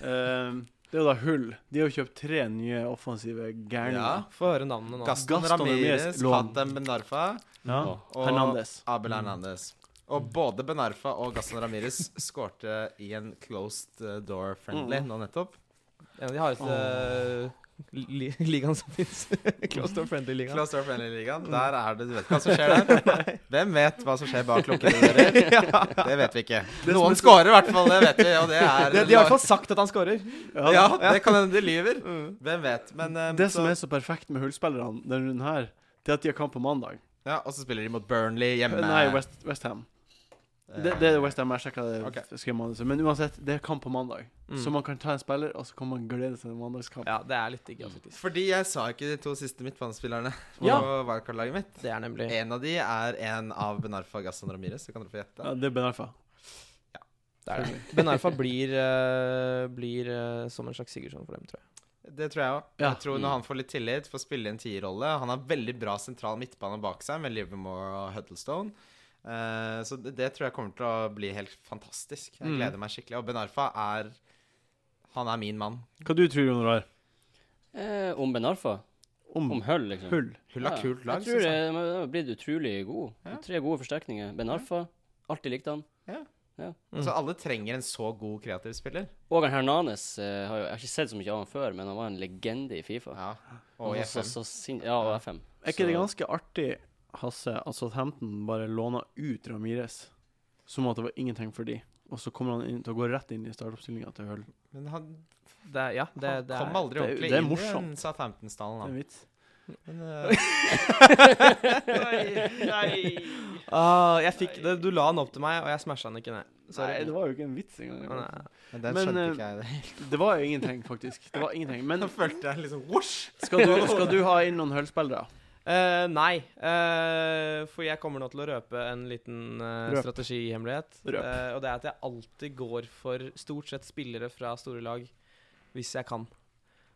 Ehm, det er jo da Hull. De har jo kjøpt tre nye offensive gærninger.
Få høre navnene nå.
Gaston,
Gaston
Ramirez,
Ramirez, lån.
Hatem Benarfa
Ja.
Åh.
og
Hernandez.
Abel Hernandez. Og både Benarfa og Gaston Ramirez skårte i en closed eh, door friendly
Mm.
nå nettopp.
En av de hardeste eh,
Åh.
li ligaene som fins. Close to friendly-ligaen.
Closed door
Mm.
friendly-ligaen. Der er det Du vet hva som skjer der? Hvem vet hva som skjer bak lukkede dører? Det vet vi ikke. Noen skårer i hvert fall, det vet vi, og det er
De, de har i hvert fall sagt at han scorer.
Ja,
Ja, det kan hende de lyver. Hvem vet. Men eh,
Mm. Det
så-
som er så perfekt med Hull-spillerne denne runden her, det er at de har kamp på mandag. Eh,
Ja, og så spiller de mot Burnley hjemme.
Nei, West, West Ham.
Eh,
Det, det er West Ham, jeg sjekket det
Ok.
f- skrev manuset. Men uansett, det er kamp på mandag.
Mm.
Så man kan ta en spiller, og så kan man glede seg til mandagskamp.
Ja, det er litt digg, ja, faktisk.
Fordi jeg sa ikke de to siste midtbanespillerne på
Ja.
wildcard-laget mitt.
Det er nemlig
En av de er en av Benarfa Gassan Ramirez. Det kan dere få gjette.
Ja, det er Benarfa.
det er det. Ben Arfa blir, eh, blir eh, som en slags Sigurdsson for dem, tror jeg.
Det tror jeg òg.
Ja.
Jeg tror
Mm.
når han får litt tillit, får spille en tierrolle Han har veldig bra sentral midtbane bak seg med Livermore og Huddlestone. Eh, så det, det tror jeg kommer til å bli helt fantastisk. Jeg
Mm.
gleder meg skikkelig. Og Benarfa er Han er min mann.
Hva du tror du, Jon Rar?
eh, om Ben Arfa. Om
Om
Hull, liksom.
Hull?
Hun har
Ja,
kult lag.
Jeg tror
synes
eh,
jeg.
det de har blitt utrolig god.
Ja.
Tre gode forsterkninger. Ben Arfa, Alltid likte han.
Altså, alle trenger en så god kreativ spiller.
Ågan Hernanes eh, har jo, jeg har ikke sett så mye av han før, men han var en legende i Fifa.
Ja.
Han
Og
var
i
så-
FM.
så sin- ja, og FM.
Er ikke det
Så-
ganske artig, Hasse, at Southampton bare låna ut Ramires som at det var ingenting for de, og så kommer han inn til å gå rett inn i startoppstillinga til Hull?
Men han,
Mm. Det, er- ja, det,
han
det
kom
er
aldri
det er-
ordentlig
det er
inn i
morsomt.
den Southampton-stallen,
Det er
han.
en vits.
Men, eh,
Ah, jeg fikk det, Du la den opp til meg, og jeg smasha den ikke ned.
Nei,
Sorry.
det var jo ikke en vits engang.
Nei.
men den
Men,
skjønte
eh,
ikke jeg.
Det var jo ingenting, faktisk. Det var ingenting. Men
Da følte jeg liksom Wosh!
skal du, skal du ha inn noen Hull-spillere?
Eh, nei, eh, for jeg kommer nå til å røpe en liten eh,
Røp.
strategihemmelighet.
Røp.
Eh, og det er at jeg alltid går for stort sett spillere fra store lag hvis jeg kan.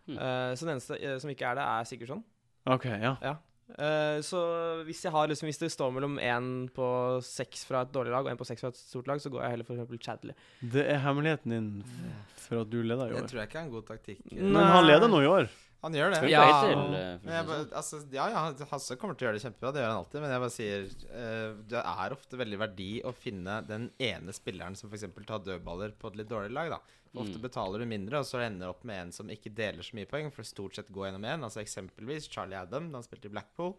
Hmm.
Eh, så den eneste eh, som ikke er det, er Sigurdsson.
OK, ja.
Eh, så hvis, jeg har, liksom, hvis det står mellom én på seks fra et dårlig lag og én på seks fra et stort lag, så går jeg heller for eksempel Chadley.
Det er hemmeligheten din for at du leder i
Det
år.
tror jeg ikke er en god taktikk.
Nei.
Men han leder nå i år.
Han gjør det.
Trump
Ja.
er hittil, eh, for
Men
å
jeg
si det
bare, altså, ja, ja, Hasse kommer til å gjøre det kjempebra, det gjør han alltid. Men jeg bare sier eh, det er ofte veldig verdi å finne den ene spilleren som f.eks. tar dødballer på et litt dårlig lag. da. Ofte
Mm.
betaler du mindre, og så ender du opp med en som ikke deler så mye poeng, for stort sett går gjennom én. Altså eksempelvis Charlie Adam da han spilte i Blackpool.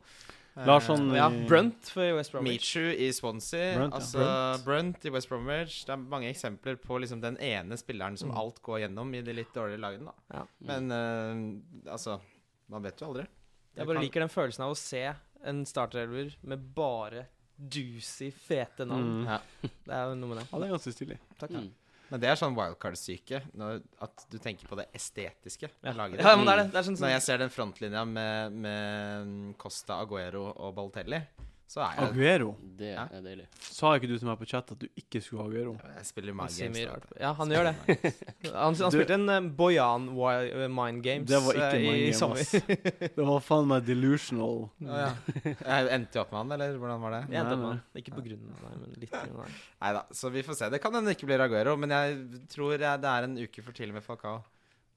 Eh,
Larsson
Ja,
i-
Brunt for West Bromwich.
Michu i Swansea,
Brunt, ja.
altså Brunt i West Bromwich. Det er mange eksempler på liksom den ene spilleren som
Mm.
alt går gjennom i de litt dårlige lagene. da.
Ja.
Men eh, altså, man vet jo aldri.
Jeg bare
kan-
liker den følelsen av å se en starterelver med bare juicy, fete navn.
Mm.
Ja.
Det er jo noe med det.
Ja, det er ganske stilig.
Takk.
Mm.
Men det er sånn wildcard-syke. når- At du tenker på det estetiske.
Ja.
ved laget ditt.
ja, men det er det. Det er sånn,
Når jeg ser den frontlinja med, med mm, Costa, Aguero og Baltelli, så er jeg
Aguero.
Det
Ja.
er deilig.
Sa ikke du til meg på chat at du ikke skulle ha Aguero?
Jeg spiller
han
mange
sier mye
games.
rart. Ja, han gjør det. Han, han spilte en eh, Bojan Wi- eh, Mind Games
Det var ikke
eh,
Mind
i
Games,
sommer.
ass. Det var faen meg delusional.
Å, ja. Jeg endte jo opp med han, eller hvordan var det?
Jeg endte opp med
Nei,
han. Ikke på grunn av det, men litt på grunn av det.
Nei da, så vi får se. Det kan hende det ikke blir Aguero, men jeg tror jeg, det er en uke for tidlig med Falcao.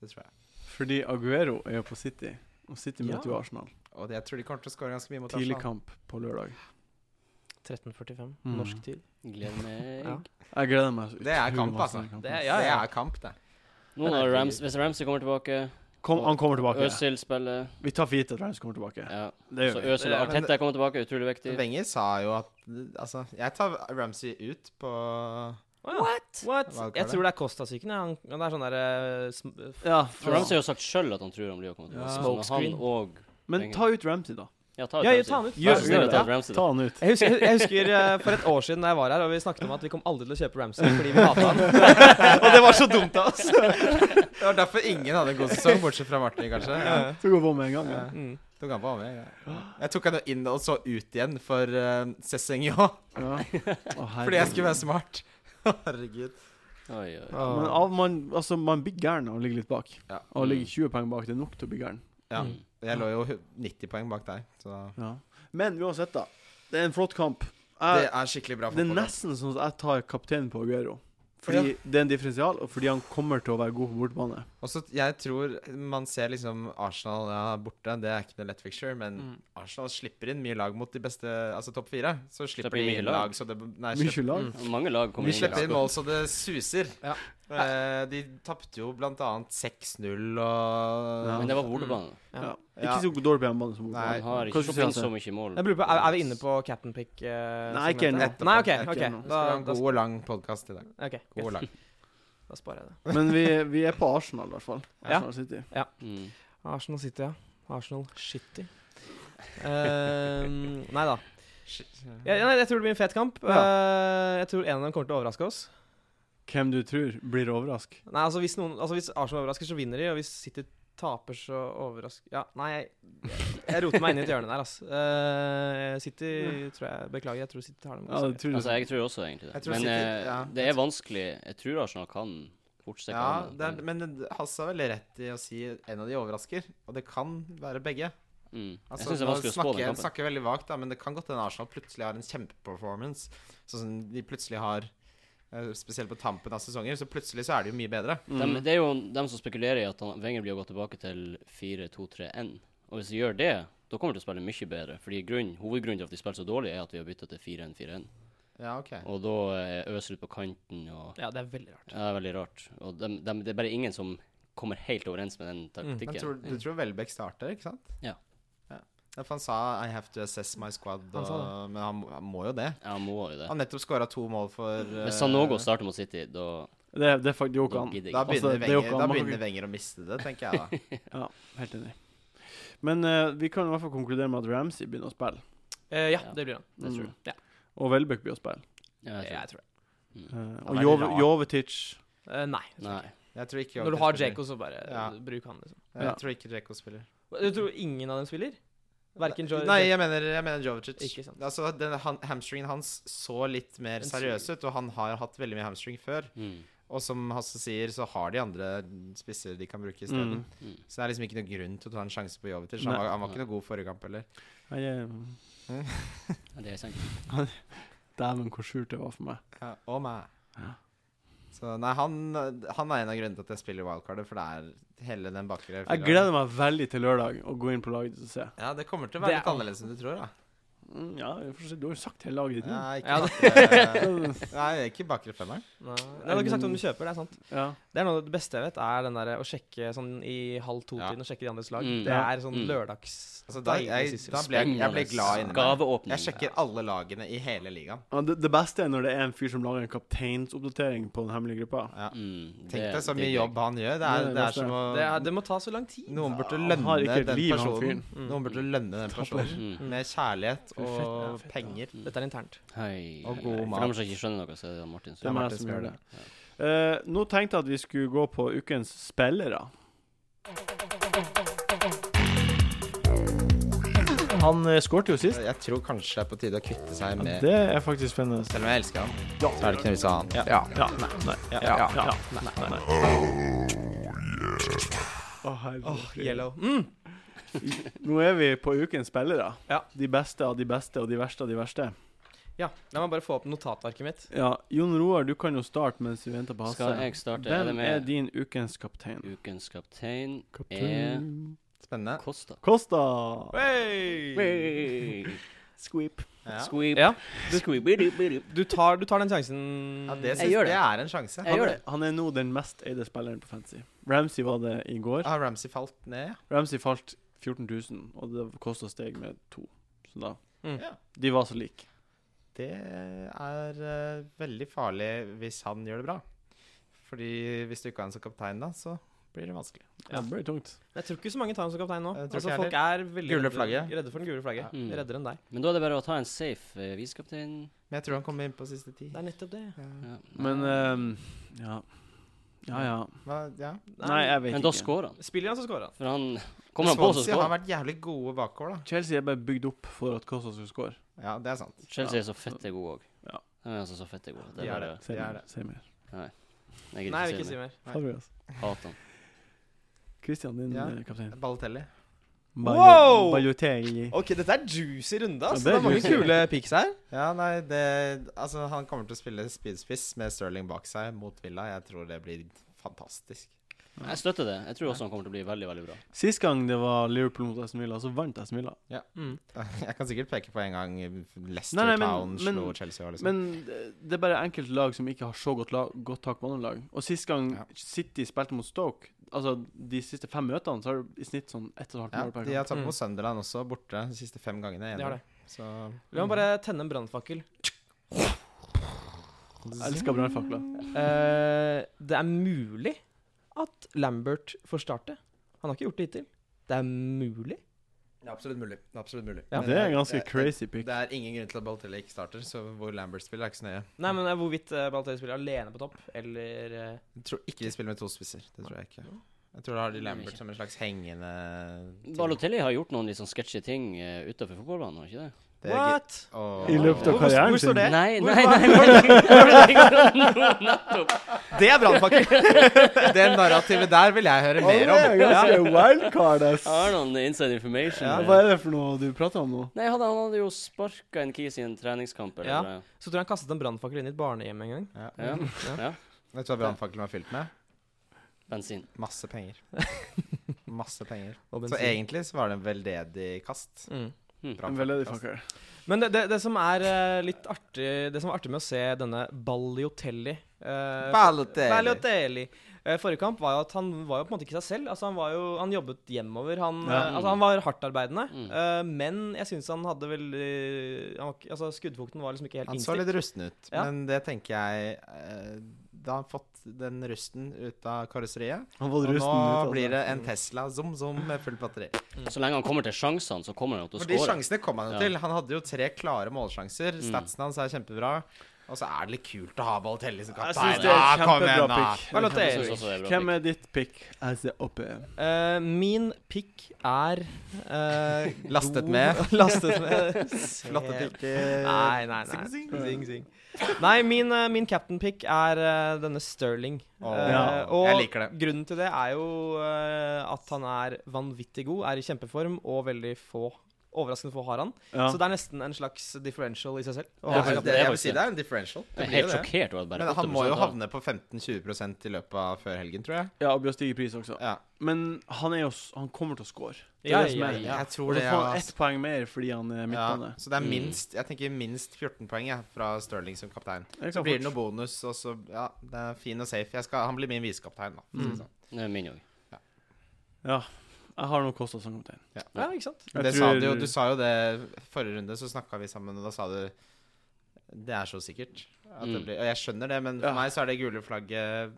Det tror jeg.
Fordi Aguero er jo på City, og City
Ja.
møter jo Arsenal.
Og det, jeg tror de kommer til å skåre ganske mye mot
Tidlig
Arsenal.
kamp på lørdag.
13.45
Mm.
norsk tid.
Gleder meg.
Ja.
Jeg gleder meg så
Det er
utrolig
kamp,
masse
altså.
til den kampen.
Det er- Ja, ja.
Det er kamp, det.
Noen av Rams, hvis Ramsey kommer tilbake,
Kom, han kommer tilbake.
Øzil spiller
Vi tar for gitt at Rams kommer tilbake.
ja.
Det
Så
gjør vi.
Øzil og
Ja, men
Arteta kommer tilbake, utrolig viktig.
Wenger sa jo at Altså, jeg tar Ramsey ut på
What? What?
Hva kaller
Jeg tror det er Costa-syken. ja. Han- Det er sånn derre
Ja,
For Ramsey har jo sagt sjøl at han tror han blir å komme
Ja.
tilbake. Så når han
Smokescreen.
og
Men ta ut Ramsey, da.
Ja, ta ut
Ja,
Ramsey.
ta han ut.
Vær
Gjør-
så snill
gjør
å ta
det.
ut Ramsey.
Ta han ut.
jeg husker, jeg husker eh, for et år siden da jeg var her, og vi snakket om at vi kom aldri til å kjøpe Ramsey fordi vi hata han. og det var så dumt av oss.
Det var derfor ingen hadde en god sesong, bortsett fra Martin, kanskje.
Så går vi på med en gang. Ja.
Mm.
Tok han på av meg, ja. Jeg tok han jo inn og så ut igjen for uh, Cézinho,
Ja. Å,
fordi jeg
herregud.
skulle være smart. Herregud.
Oi, oi.
Men av, man, altså, man blir gæren av å ligge litt bak.
Ja.
Å ligge 20 poeng bak, det er nok til å bli gæren.
Ja.
Mm.
Jeg lå jo 90 poeng bak deg, så
Ja. Men uansett, da. Det er en flott kamp.
Det
Jeg,
er skikkelig bra
det er
fotball. da.
nesten sånn at jeg tar kapteinen på Aguero. Fordi det er en differensial, og fordi han kommer til å være god på bortebane.
Og så jeg tror man ser liksom Arsenal ja, borte, det er ikke noe lett fixture, men Arsenal slipper inn mye lag mot de beste, altså topp fire. Så slipper
Slipper
de
mye
inn
lag.
lag, så det Nei, slipper
Mye lag.
Mm.
Mange lag kommer
Vi
inn.
slipper
i
inn mål så det suser.
Ja.
Eh, de tapte jo blant annet 6-0 og
Ja.
Men det var bortebane.
Ikke så dårlig på hjemmebane som
Mm. Nei.
bortebane.
Han har ikke
Kanskje
sluppet inn
Chelsea.
altså?
så mye mål.
Jeg lurer på, er, er vi inne på cap'n pick? eh,
Nei, ikke
segmentet?
ennå.
Nei, ok.
Ikke
ok.
ennå.
Vi
Da,
skal ha en
da,
god og lang podkast i dag.
ok,
God og
greit.
lang.
da sparer jeg det.
Men vi, vi er på Arsenal, i hvert fall.
Ja.
Arsenal City.
Mm.
Arsenal City, ja. Arsenal Shitty. Ehm, nei da. Jeg, nei, jeg tror det blir en fet kamp. Eh, jeg tror en av dem kommer til å overraske oss.
Hvem du tror blir overrask?
Nei, altså Hvis, noen, altså hvis Arsenal overrasker, så vinner de. Og hvis City taper, så overrasker Ja, nei, jeg, jeg roter meg inn i et hjørne der, altså. Eh, City tror jeg Beklager, jeg tror City tar dem.
Ja, det tror
Altså,
jeg.
jeg tror også egentlig det.
Jeg tror
Men
sikkert-
eh,
ja.
det er vanskelig. Jeg tror Arsenal kan fortsette.
Ja, det er, men Hasse har veldig rett i å si en av de overrasker, og det kan være begge.
mm.
Altså,
Jeg syns det er
nå
vanskelig å spå
snakker,
den
jeg
kampen.
snakker veldig vagt, da, men det kan godt hende Arsenal plutselig har en kjempeperformance. Sånn som de plutselig har eh, Spesielt på tampen av sesonger, så plutselig så er de jo mye bedre.
Dem- det er jo dem som spekulerer i at han, Wenger blir å gå tilbake til 4-2-3-1. Og hvis de gjør det, da kommer de til å spille mye bedre. Fordi grunn, Hovedgrunnen til at de spiller så dårlig, er at vi har bytta til 4-1-4-1.
Ja, ok.
Og da eh, er Øsel ut på kanten og
Ja, det er veldig rart.
Ja, det er veldig rart. Og dem- dem- det er bare ingen som kommer helt overens med den
Mm. Men
taktikken.
Men tror, du tror Welbeck starter, ikke sant?
Ja.
ja. Ja, For han sa 'I have to assess my squad',
Han sa
og, men han, han må jo det.
Ja, han må jo det.
Han nettopp skåra to mål for
Hvis han nå går og starter mot City, da,
Det, det er faktisk jo ikke
da
an.
gidder jeg
eh, Da
ikke.
Altså,
begynner,
det er jo
Wenger,
ikke-
da
man kan
begynner
ikke-
Wenger å miste det, tenker jeg da.
Ja, helt enig. Men eh, vi kan i hvert fall konkludere med at Ramsey begynner å spille. Mm.
Eh, ja,
Ja.
det blir han.
Det tror jeg.
Ja,
Og Welbeck begynner å spille.
Ja, jeg tror
jeg
det.
tror
Eh,
det.
Ja,
og
det er
Jove,
rart.
Jovetic
Eh, nei. jeg tror
Nei.
ikke.
Jeg tror ikke
Når du har Jaco, så bare
Ja.
eh, bruk han, liksom.
Jeg
Ja.
tror ikke Jaco spiller.
Du tror ingen av dem spiller? Verken Joe
Nei, jeg mener, jeg mener Jovicic.
Ikke sant.
Altså, den, han, hamstringen hans så litt mer
Den
seriøs
ser-
ut, og han har hatt veldig mye hamstring før.
Mm.
Og som Hasse sier, så har de andre spisser de kan bruke isteden.
Mm.
Mm.
Så det er liksom ikke noen grunn til å ta en sjanse på Jovetic. Han
Nei.
var, han var ikke noe god forrige kamp heller.
Nei, jeg-
Ja, det er sant.
Dæven, hvor surt det var for meg.
Ja, og meg.
Ja.
Så nei, han, han er en av grunnene til at jeg spiller wildcardet, for det er hele den bakre
Jeg gleder meg veldig til lørdag å gå inn på laget og se.
Ja, det kommer til å
Det
være
er-
litt annerledes enn du tror, da.
Mm, ja, vi får se. Du har jo sagt hele laget ditt nå.
Nei,
Ja,
ikke bakre, nei, ikke bakre femmeren.
Nei, det har du ikke sagt om du kjøper, det er sant.
Ja.
Det er noe av det beste jeg vet, er den der å sjekke sånn i halv
Ja.
to-tiden og sjekke de andres lag.
Mm.
Det
Ja.
er sånn
Mm.
lørdags
Altså, da, jeg,
deilig
da
sysel.
ble jeg, jeg ble
Spennende.
glad inni meg.
Gaveåpning.
Jeg sjekker alle lagene i hele ligaen.
Ja, det, det beste er når det er en fyr som lager en kapteinsoppdatering på den hemmelige gruppa.
Ja.
Mm,
Tenk deg så
digger
mye
jeg.
jobb han gjør. Det
Nei,
er,
det
det
er
er som å
det, er, det må ta så lang tid.
Noen burde
Ja, han har
lønne
ikke et
den
liv, han
personen.
Mm.
Noen burde lønne den personen
Mm.
med kjærlighet
Fy, fett, ja,
og
fett, ja.
penger.
Mm.
Dette er internt.
Hei,
Og
hei,
god
hei.
mat.
For dem som ikke skjønner noe, så er det Martin
Det
Ja,
er
som
meg
Martin
som
som
gjør
gjør
det. Eh, nå tenkte jeg at vi skulle gå på ukens spillere. Han uh, skårte jo sist.
Jeg tror kanskje det er på tide å kvitte seg
Ja,
med
det er faktisk spennende.
Selv om jeg elsker han, så er det ikke noe vits i å ha han.
Ja. ja. Nei. Nei. Ja. ja, ja. Nei. Nei. Å, herregud.
Yellow. Mm.
Nå er vi på ukens spillere.
Ja.
De beste av de beste og de verste av de verste.
Ja, la meg bare få opp notatarket mitt.
Ja, Jon Roar, du kan jo starte mens vi venter på Hasse.
Skal jeg starte? Er det
Hvem er
med
din ukens kaptein?
ukens kaptein,
Kaptein.
Spennende.
Kosta?
Kosta!
Squeep.
Ja.
Squeep.
Ja.
Squeep. bidup, bidup.
Du tar, du tar den sjansen
Ja, det,
Jeg
synes,
gjør det.
det er en sjanse.
Jeg gjør det.
Han er nå den mest eide spilleren på Fancy. Ramsey var det i går.
Har Ramsey falt ned?
Ramsey falt 14 000, og det kosta steg med to. Så da
Mm.
Ja.
De var så like.
Det er eh, veldig farlig hvis han gjør det bra. Fordi hvis du ikke har han som kaptein, da, så blir det vanskelig.
Ja, det ble tungt.
Jeg tror ikke så mange tar den som kaptein nå.
Jeg tror
Altså,
ikke
folk er veldig
Gule
redde-
flagget.
redde for den gule flagget.
Ja. Mm.
Reddere enn deg.
Men da er det bare å ta en safe eh, visekaptein.
Men jeg tror han kommer inn på siste ti.
Det er nettopp det.
Ja.
Ja.
Men ehm, ja. Ja, ja.
Hva- ja.
Nei, jeg vet
Men da
ikke.
scorer han.
Spiller han, så scorer han.
For han Kommer han på, så
Swansea
scorer
har
han.
vært jævlig gode bakover, da.
Chelsea er bare bygd opp for at Kosta skal score.
Ja, det er sant.
Chelsea er så fette god òg.
Ja.
De er altså så fette gode. Det
De
er
er
bare
Si
Det er
mer.
det.
Si mer.
Jeg
Nei, jeg
gidder
vil
ikke si
ikke si
mer.
mer.
Nei.
Fabregas.
Hater han.
Christian, din
Ja.
eh, kaptein.
Balotelli.
Wow!
Bajotei.
Ok, dette er juicy runde,
ass. Ja, det er Det er mange juicy. kule
pics her.
Ja, nei, det Altså, han kommer til å spille speedspiss med Sterling bak seg mot Villa. Jeg tror det blir fantastisk.
Jeg støtter det. Jeg tror også han kommer til å bli veldig, veldig bra.
Sist gang det var Liverpool mot Aston Villa, så vant Aston Villa.
Mm.
Jeg kan sikkert peke på en gang Leicester
Nei, nei, men-
Town slo
men-
Chelsea. Liksom.
Men eh, det er bare enkelte lag som ikke har så godt, lag, godt tak på andre lag. Og sist gang
Ja.
City spilte mot Stoke, altså de siste fem møtene, så har du i snitt sånn ett og et halvt
ja,
mål per
de har
kamp.
tapt
Mm.
mot Sunderland også, borte de siste fem gangene.
Det har det.
Så
La meg bare
Mm.
tenne en brannfakkel.
Jeg elsker brannfakler.
Eh, det er mulig at Lambert får starte. Han har ikke gjort det hittil. Det er mulig.
Det er absolutt mulig. Det er absolutt mulig.
Ja.
Men
Det er en ganske
det-
crazy pick.
Det er ingen grunn til at Balotelli ikke starter, så hvor Lambert spiller, er ikke så nøye.
Nei, men eh, hvorvidt uh, Balotelli spiller alene på topp, eller eh,
Jeg tror ikke de spiller med to spisser. Det tror jeg ikke. Jeg tror da har de Lambert som en slags hengende ting.
Balotelli har gjort noen litt sånn sketchy ting uh, utafor fotballbanen, har han ikke det?
Det er gøy.
What?!
Åh.
I løpet av
Hvor-
karrieren
hvor står
sin.
det?
Nei,
Hvor-
nei,
hva-
nei, nei, nei. Nettopp.
Det er brannfakkel!
Det narrativet der vil jeg høre mer om.
ganske wildcard, ass.
Har noen inside information?
Ja,
eh?
Hva er det for noe du prater om nå?
Nei, hadde, han hadde jo sparka en kis i en treningskamp, eller
Ja.
noe.
Så tror jeg han kastet en brannfakkel inn i et barnehjem en gang.
Ja.
Ja. ja.
Vet du hva brannfakkelen var fylt med?
Bensin.
Masse penger. Masse penger.
Og
Så
bensin.
egentlig så var det en veldedig kast.
Mm.
Hmm.
Bra
En veldig
podcast.
fucker.
Men det, det, det som er eh, litt artig Det som var artig med å se denne Balliotelli eh,
Balotelli.
Balotelli. Eh, Forrige kamp var jo at han var jo på en måte ikke seg selv. Altså Han var jo, han jobbet hjemover. Han,
Ja.
eh, altså han var hardtarbeidende.
Mm.
Eh, men jeg syns han hadde veldig han var, ikke- altså Skuddfukten var liksom ikke helt
Han så
innstilt.
litt rusten ut,
Ja.
men det tenker jeg eh, Da har han fått den rusten ut av karosseriet.
Han var
Og
rusten ut
nå
av
blir det en Tesla zoom zoom med fullt batteri.
Så lenge han kommer til sjansene, så kommer han jo til å
For de
skåre.
sjansene kom han jo
Ja.
til. Han hadde jo tre klare målsjanser.
Mm.
Statsen hans er kjempebra. Og så er det litt kult å ha Balotelli som
Jeg
kaptein.
syns det er
Ah,
et
kom igjen,
kjempebra
da.
pick.
Jeg
Balotelli.
synes også det er bra
Hvem
pick.
er ditt pick? Jeg ser oppe.
Eh, min pick er eh,
Lastet
god-
med.
Lastet med.
Flotte
Se-
pikker.
Nei, nei, nei.
Zing, zing.
Zing, zing. Nei, min, eh, min captain pick er eh, denne Sterling.
Åh,
Eh,
Ja,
og
jeg liker det.
grunnen til det er jo eh, at han er vanvittig god, er i kjempeform, og veldig få Overraskende få har han.
Ja.
Så det er nesten en slags differential i seg selv.
Ja,
Det
Og
er
det,
faktisk-
jeg vil si det er en differential. Det
Jeg er
blir jo
helt
det.
sjokkert over at bare
Men han må
8%
jo
har-
havne på 15-20 i løpet av før helgen, tror jeg.
Ja, og Bjørn stiger i pris også.
Ja.
Men han, er jo, s- han kommer til å score. Det er
Ja,
det som
ja,
er.
ja.
Jeg
Og
tror
så
det
får han
ass.
ett poeng mer fordi han er midtbane.
Ja, så det er
Mm.
minst Jeg tenker minst 14 poeng jeg, fra Sterling som kaptein.
Jeg kan
Så blir det
fort-
noe bonus, og så Ja, det er fin og safe. Jeg skal, han blir min visekaptein, da.
Mm.
Sånn.
Det er min òg.
Ja. Jeg har noe Kosta som kaptein.
Ja, ikke sant?
Jeg
Det sa
tror-
du jo. Du sa jo det forrige runde, så snakka vi sammen, og da sa du Det er så sikkert. At det
Mm.
blir, og jeg skjønner det, men for
Ja.
meg så er det gule flagget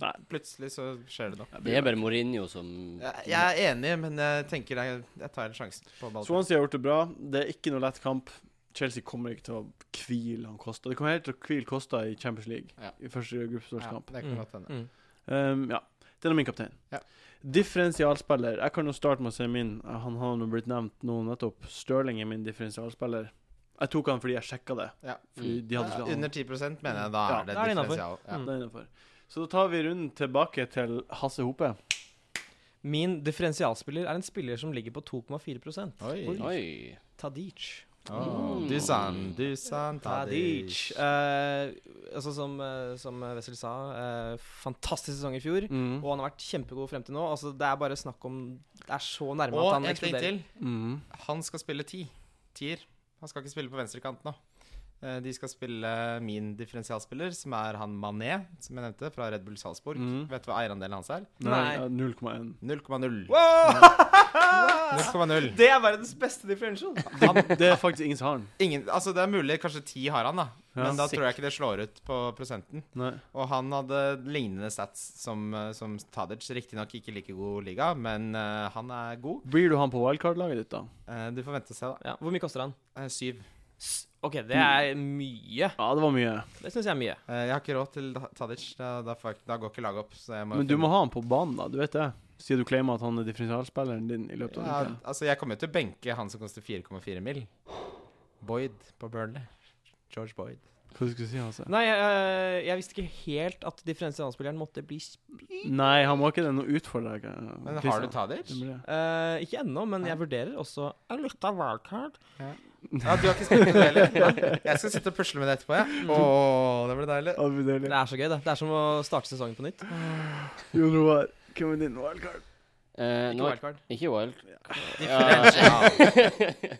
Nei.
Plutselig så skjer det noe.
Det er bare Mourinho som
Jeg, jeg er enig, men jeg tenker jeg, jeg tar en sjanse på ballen.
Swansea har gjort det bra. Det er ikke noe lett kamp. Chelsea kommer ikke til å hvile han Kosta. Det kommer helt til å hvile Kosta i Champions League
Ja.
i første
Ja,
gruppespillskamp.
det kan godt hende.
Mm.
Um, ja. Den er min kaptein.
Ja.
Differensialspiller. Jeg kan jo starte med å si min. Eh, Han har nå blitt nevnt nå nettopp. Stirling er min differensialspiller. Jeg tok han fordi jeg sjekka det.
Ja.
Fordi de hadde
Ja,
slått han.
under 10 mener jeg da
Ja,
er det
da er det innenfor.
differensial. Ja.
Mm.
Det er innenfor. Så da tar vi runden tilbake til Hasse Hope.
Min differensialspiller er en spiller som ligger på 2,4
Oi.
Oi.
Tadic.
Åh, Du sa han, du sa han,
Tadic.
Tadic.
Eh, altså som, eh, som Wessel sa, eh, fantastisk sesong i fjor.
Mm.
Og han har vært kjempegod frem til nå. Altså Det er bare snakk om Det er så nærme at
Og
han
en ting
eksploderer.
til.
Mm.
Han skal spille ti. Tier. Han skal ikke spille på venstrekant nå. Eh, De skal spille min differensialspiller, som er han Mané, som jeg nevnte, fra Red Bull Salzburg.
Mhm.
Vet du hva eierandelen hans er?
Nei,
Nei.
ja, 0,1.
0,0.
Wow!
0,0.
Det er verdens beste differential.
Han- Det er faktisk ingen som har den.
Ingen, altså det er mulig kanskje ti har han, da.
Ja.
Men da tror jeg ikke det slår ut på prosenten.
Nei.
Og han hadde lignende stats som, eh, som Tadic. Riktignok ikke like god liga, men eh, han er god.
Blir du han på wildcard-laget ditt, da?
Eh, du får vente og se, da.
Ja, hvor mye koster han?
Eh, syv.
Ok, det er mye.
Ja, det var mye.
Det syns jeg er mye.
Eh, jeg har ikke råd til da- Tadic. Da, da, får jeg, ikke- da går ikke laget opp. Så jeg må
Men du
finne-
må ha han på banen, da. Du vet det. Siden du claimer at han er differensialspilleren din i løpet av
ja,
uka.
altså, jeg kommer jo til å benke han som koster 4,4 mil. Boyd på Burnley. George Boyd.
Hva skulle du si, Hasse?
Nei, eh, jeg, jeg visste ikke helt at differensialspilleren måtte bli sp-
Nei, han var ikke det. Nå utfordrer jeg ikke.
Men har
Christian.
du Tadic?
Det blir det.
Eh, Ikke ennå, men jeg vurderer også en liten wildcard.
Ja, du har ikke spilt med det heller? Jeg skal sitte og pusle med det etterpå, jeg. Åh, det blir deilig.
Å, det blir deilig.
Det er så gøy, det. Det er som å starte sesongen på nytt.
Jon Roar, hvem er din wildcard?
Eh,
Ikke
nå,
wildcard.
ikke wild.
Differensial.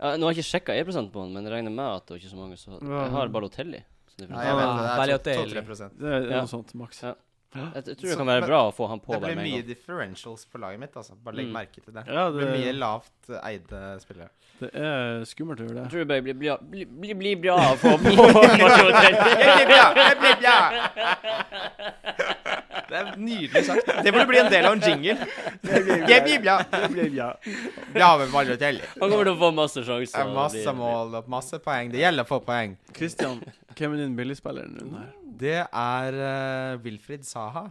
Ja, nå har jeg ikke sjekka 1 på han, men jeg regner med at det var ikke så mange som Jeg har Balotelli. så det er
Nei,
bra.
jeg vet det. Det
Balotelli.
er 2-3
Det er
Ja.
noe sånt, maks.
Ja. Jeg, jeg
Så-
tror det kan være
men-
bra å få han på
Det
hver
blir
med en
mye
gang.
differentials på laget mitt, altså. Bare legg
Mm.
merke til det.
Ja,
Det
det,
blir mye lavt eide spillere.
det er skummelt å gjøre
Jeg
det.
tror det bare blir bra, blir, blir, blir bra å få på Balotelli.
Det er nydelig sagt. Det burde bli en del av en jingle.
Jeg blir bra.
ja.
Bra med Balotelli.
Han kommer til å få masse sjanser.
Det er
Det
Masse
blir-
mål og masse poeng. Det gjelder å få poeng.
Christian, hvem er din billigspiller i runden her?
Det er eh, Wilfried Saha.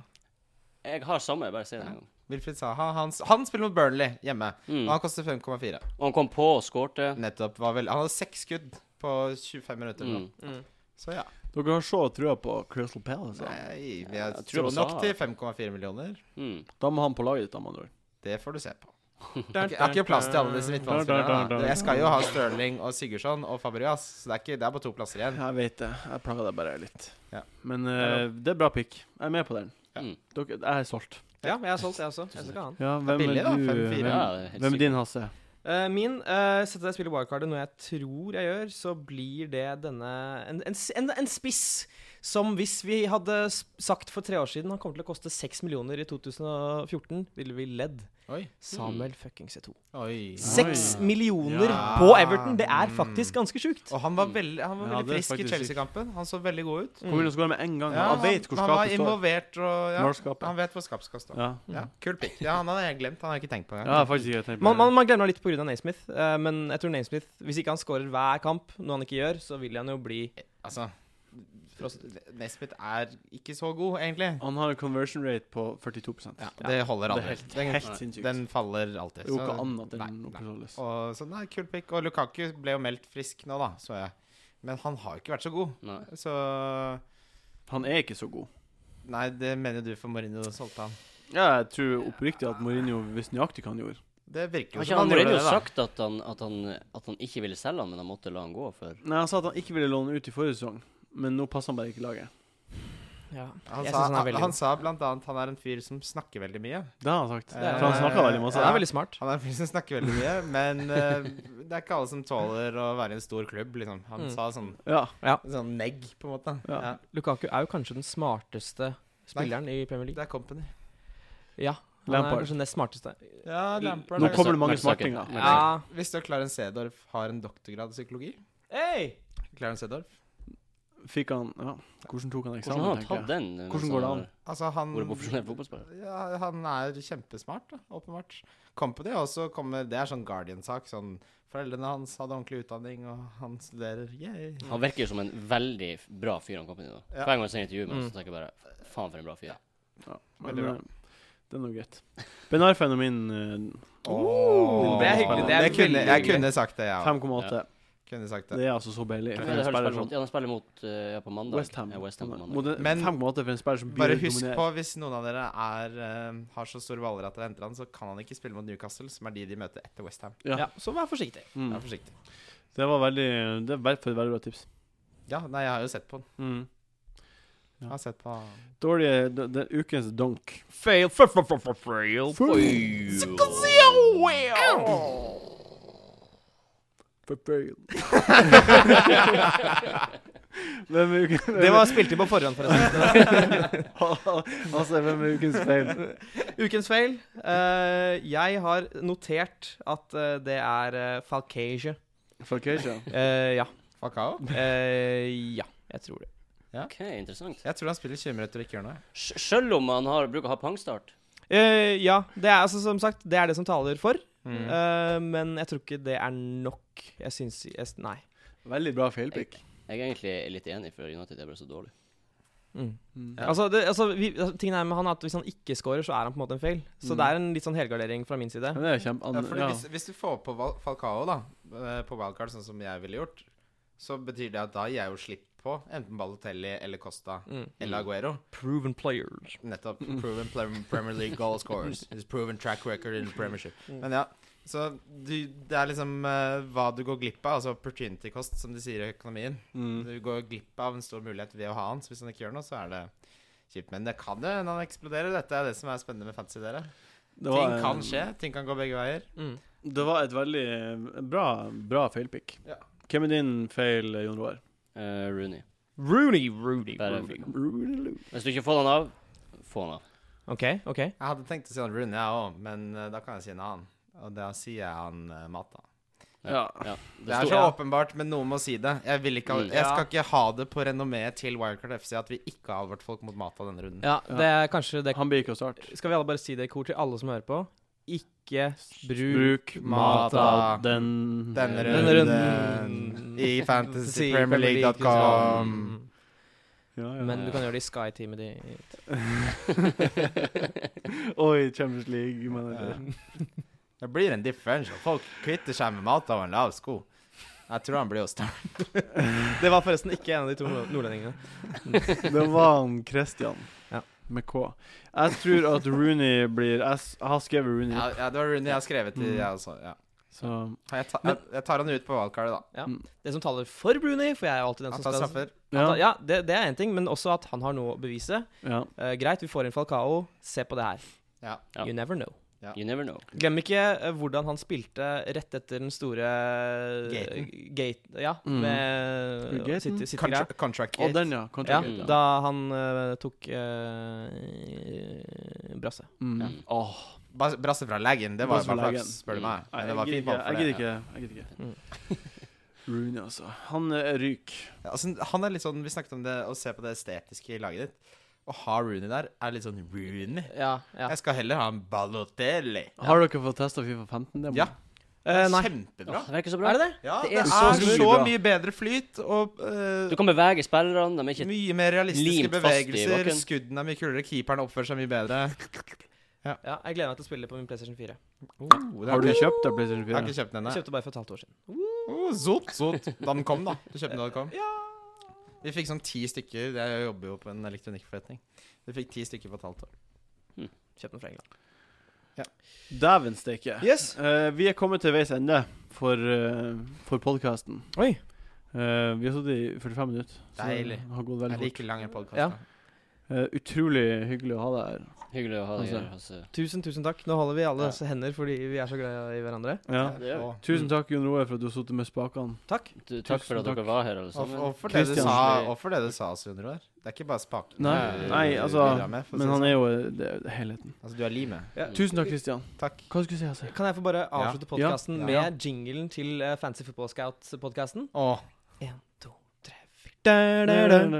Jeg har samme, jeg bare si det en gang.
Wilfried Saha, han, s- han spiller mot Burnley hjemme. Og
Mm.
han koster 5,4.
Og han kom på og skårte.
Nettopp var vel Han hadde seks skudd på 25 minutter. eller
Mm.
noe. Så ja.
Dere har så trua på Crystal Palace. Ja.
Nei, vi
Ja,
er
jeg tror
tror
på
nok
Saha.
til 5,4 millioner.
Mm.
Da må han på laget ditt, da, med andre ord.
Det får du se på. Jeg har ikke- jeg har ikke plass til alle disse midtbanespillerne. da. Jeg skal jo ha Sterling og Sigurdsson og Fabregas, så det er, ikke, det er bare to plasser igjen.
Jeg vet det. Jeg plaga deg bare litt.
Ja.
Men eh, det er bra pick. Jeg er med på den.
Ja. Mm.
Dere, jeg er solgt.
Ja, jeg har solgt, jeg også. Jeg skal ikke ha han.
Ja, hvem
billig,
er
da.
du?
Fem, fire.
Hvem,
Ja, det er helt
hvem er din, Hasse?
Eh, Eh, min uh, Sette deg og spille wildcardet, noe jeg tror jeg gjør, så blir det denne En, en, s- en, en spiss som hvis vi hadde s- sagt for tre år siden han kommer til å koste seks millioner i 2014, ville vi ledd.
Oi.
Samuel fuckings Eto'o.
Mm. Oi.
Seks
Oi.
millioner
Ja. Mm.
på Everton! Det er faktisk ganske sjukt.
Og han var veldig, han var
Ja,
veldig
det er
frisk i
faktisk
Chelsea-kampen. Han så veldig god ut.
Kom inn og skår med en gang.
Ja,
han vet hvor
han var
skapet står.
involvert og ja,
Når skapet.
Han vet hvor skapet skal stå. Ja.
Ja.
Kul pick. Ja, han hadde jeg glemt. Han har jeg ikke tenkt på.
ja, faktisk. Jeg tenker på
Man,
det.
man, man glemmer litt pga. Naismith, eh, men jeg tror Naismith Hvis ikke han scorer hver kamp, noe han ikke gjør, så vil han jo bli
Altså, Nesbitt er ikke så god, egentlig.
Han har en conversion rate på 42
Ja, det holder
Det er
aldri.
helt,
Den,
helt sinnssykt.
den faller alltid.
det er jo
så-
ikke an at den
Nei, nei.
opprettholdes.
Og, så nei, kul pick. Og Lukaku ble jo meldt frisk nå, da, så jeg. Men han har jo ikke vært så god.
Nei.
Så
Han er ikke så god.
Nei, det mener du for Mourinho solgte han.
Ja, jeg tror oppriktig at Mourinho visste nøyaktig hva han gjorde.
Det virker
Har
jo
ikke
som han
han
gjorde det,
Mourinho
da.
sagt at han, at, han, at han ikke ville selge han, men han måtte la han gå for
Nei, Han sa at han ikke ville låne ut i forrige sesong, men nå passer han bare ikke laget.
ja.
Han
Jeg
sa,
synes han er
han,
veldig
han sa blant annet han er en fyr som snakker veldig mye.
Det har han sagt.
Eh,
Det er-
For han snakka veldig masse.
Han er veldig smart.
Han er en fyr som snakker veldig mye, men eh, det er ikke alle som tåler å være i en stor klubb, liksom. Han
Mm.
sa sånn,
Ja.
sånn negg, på en måte.
Ja.
Ja.
Lukaku er jo kanskje den smarteste spilleren i Premier League.
Det er company.
Ja, han er
Lampard.
kanskje den nest smarteste.
Ja,
Lampard
Nå
er-
kommer det mange
Merk saken.
smartinger.
Merk saken.
Ja.
Visste du at Clarence Sedorf har en doktorgrad i psykologi?
Hey!
Clarence Sedorf?
Fikk han ja. Hvordan tok han
Hvordan har
eksamen,
han tatt
tenker jeg.
den? mens
Hvordan går det
han
an?
Altså, han
har Vært profesjonell fotballspiller?
Ja, han er kjempesmart, da, åpenbart. Company også kommer Det er sånn Guardian-sak. Sånn Foreldrene hans hadde ordentlig utdanning, og han studerer. Yay.
Han virker jo som en veldig f- bra fyr, han Company. da.
Ja.
Hver gang jeg ser intervju med ham,
Mm.
så tenker jeg bare f- faen for en bra fyr.
Ja. Men,
Veldig bra.
eh, det er nå greit. Ben Arfen er min eh,
Åh.
det er hyggelig, det er
jeg, kunne, jeg
veldig
kunne sagt det, jeg òg.
5,8.
Kunne sagt det.
Det er altså så billig. for
Ja,
en
det høres
spiller som-
veldig flott. ja, han spiller mot eh, ja, på mandag.
West Ham.
Ja, West Ham på
Mot
mandag.
en-
Men-
5,8 for en spiller som
Bare
begynner å
husk
dominere.
på, hvis noen av dere er, eh, har så store baller at dere henter han, så kan han ikke spille mot Newcastle, som er de de møter etter Westham.
Ja.
Ja, så vær forsiktig.
Mm.
Vær forsiktig.
Det var veldig Det er vel- for et veldig bra tips.
Ja, nei, jeg har jo sett på han.
Mm.
Jeg har sett på
Dårlige d- Det er ukens donk.
Fail, fail, fail, fail, fail,
Hvem er ukens
Det var spilt inn på forhånd, forresten.
Altså, hvem er ukens feil?
Ukens feil. Eh, jeg har notert at eh, det er uh, Falkasia.
Falkasia.
Eh, ja.
Fakao.
Eh, ja, jeg tror det.
Ok, interessant.
Jeg tror han spiller 20 minutter og ikke gjør noe.
Sj- Selv om han har, bruker å ha pangstart.
Eh, ja, det er altså som sagt Det er det som taler for,
Mm.
eh, men jeg tror ikke det er nok. Jeg syns jeg, s- Nei.
Veldig bra feilpick.
Jeg er egentlig litt enig, for United er bare så dårlig.
Mm.
Mm.
Altså, det, altså, vi, altså, tingen er med han at Hvis han ikke scorer, så er han på en måte en fail. Så
Mm.
det er en litt sånn helgardering fra min side.
Men det er kjempe...
Ja,
An,
fordi
ja.
hvis, hvis du får på Val- Falcao da eh, på wildcard, sånn som jeg ville gjort, så betyr det at da gir jeg jo slipp på enten Balotelli eller Costa
Mm.
eller Aguero.
Proven players.
Nettopp. Proven plem- Premier League goal scorers. His proven track record in premiership. Men ja, så du, det er liksom eh, hva du går glipp av, altså opportunity cost, som de sier i økonomien.
Mm.
Du går glipp av en stor mulighet ved å ha han, så hvis han ikke gjør noe, så er det kjipt. Men det kan jo hende han eksploderer. Dette er det som er spennende med fantasy, dere.
Det, var,
Ting kan
eh,
skje. Ting kan gå begge veier.
Mm.
det var et veldig eh, bra, bra feilpick.
Ja.
Hvem er din feil, eh, Jon Roar?
Eh, Rooney.
Rooney, Rooney,
Bare
Rooney.
Hvis du ikke får han av, få han av.
OK, OK.
Jeg hadde tenkt å si han Rune, jeg òg, men eh, da kan jeg si en annen. Og da sier jeg han uh, Mata.
Ja.
ja.
Det er
sto-
så åpenbart, men noen må si det. Jeg, vil ikke ha,
Mm.
jeg skal ikke ha det på renommeet til Wildcard FC at vi ikke har advart folk mot Mata denne runden.
Ja, det er kanskje det
Han blir ikke å starte.
Skal vi alle bare si det i kor til alle som hører på? Ikke
Bruk
bruk
mata den
Denne
Denne
runden, mm,
runden.
i fantasypremierleague.com.
Ja, ja.
sånn. Men du kan gjøre det i Sky-teamet ditt.
Oi, Champions League manager.
Det blir en differential. Folk kvitter seg med Mata og en lav sko. Jeg tror han blir å starte.
Det var forresten ikke en av de to nord- nordlendingene.
Det var han Christian
Ja.
med K. Jeg tror at Rooney blir Jeg s- jeg har skrevet Rooney,
Ja, ja, det var Rune jeg har skrevet til,
Mm.
jeg også. Ja.
så
Jeg, ta,
Men-
jeg, jeg tar han ut på wildcardet, da.
Det som taler for Bruni, for jeg er jo alltid den
Han
som
tar
skal
straffer.
Ja.
Ja, ja det, det er én ting, men også at han har noe å bevise.
ja.
Eh, greit, vi får inn Falcao. Se på det her.
Ja.
Ja.
You never know.
Ja.
You never know.
Glem ikke eh, hvordan han spilte rett etter den store eh,
Gaten.
Gate, ja,
Mm.
med
Gaten?
City, City
Contra
greia.
contract
Å,
gate.
den, ja.
Ja,
Contra Gate,
da han eh, tok eh, uh, Brasse.
Mm.
Mm.
Åh,
Bas- Brasse fra leggen, det var
Brasse fra
bare
leggen.
flaks, spør du
Mm.
meg.
Nei,
Men det
jeg gidder
var fin
ikke.
ball for
Jeg gidder
det, ja.
ikke. Jeg gidder ikke. Rooney, altså. Han eh, ryker.
Altså, han er litt sånn, Vi snakket om det å se på det estetiske i laget ditt. Å ha Rooney der er litt sånn Rooney.
Ja, ja.
Jeg skal heller ha en Balotelli.
Har dere fått testa Fifa 15? Det må-
Ja.
Eh, nei.
Kjempebra.
Åh, det virker så bra.
Er det det?
Ja,
det
det
er
er,
så
så,
utrolig bra.
mye bedre flyt og eh,
Du kan bevege spillerne, de er ikke
mye mer realistiske
limt fast i
bevegelser.
bakken.
Skuddene er mye kulere, keeperen oppfører seg mye bedre.
Ja, jeg gleder meg til å spille det på min PlayStation 4.
Oh, det
Har du
ikke-
kjøpt da, PlayStation
Jeg har
4?
ikke kjøpt den
Jeg
ennå.
kjøpte bare for et halvt år siden.
Oh, zot, zot. Da den kom, da. Du kjøpte den da den kom? Vi fikk sånn ti stykker. Jeg jobber jo på en elektronikkforretning. Vi fikk ti stykker på et halvt år.
Kjøpte den fra England.
Dæven steike.
Yes.
Eh, vi er kommet til veis ende for, eh, for podkasten.
Oi.
vi har sittet i 45 minutter. Så
Deilig.
Det har gått
Jeg
veldig fort.
liker lange podkaster.
Ja.
Eh, utrolig hyggelig å ha deg her.
Hyggelig å ha deg
Altså.
her. Altså.
Tusen, tusen takk. Nå holder vi alle
Ja.
disse hender fordi vi er så glad i hverandre.
Ja.
Det gjør vi.
Og,
Tusen takk, Jon Roar, for at du har sittet med spakene.
Takk.
Du, takk for at
Tusen
dere var her, alle
og,
sammen.
og, for det du
Christian.
sa, og for det du sa, Sven Roar. Det er ikke bare spakene
Nei,
du-
nei,
du
altså,
bidrar med, for å
Men
si
han
det
er jo eh, det, det er helheten.
sånn. Altså, du er limet.
Tusen takk, Christian.
Takk.
Hva skulle du si? Altså?
Kan jeg få bare avslutte
Ja.
Ja.
podkasten
Ja.
med jinglen til eh, Fancy Football Scout-podkasten?
Åh,
En, to, tre, fire.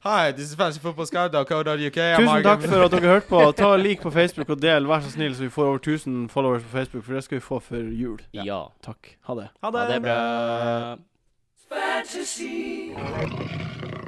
Hi, this is fancyfootballscout.co.uk.
Tusen takk for at dere hørte på. Ta og Lik på Facebook og del, vær så snill, så vi får over 1000 followers på Facebook, for det skal vi få før jul.
Ja.
Takk. Ha det.
Ha
Ha det bra.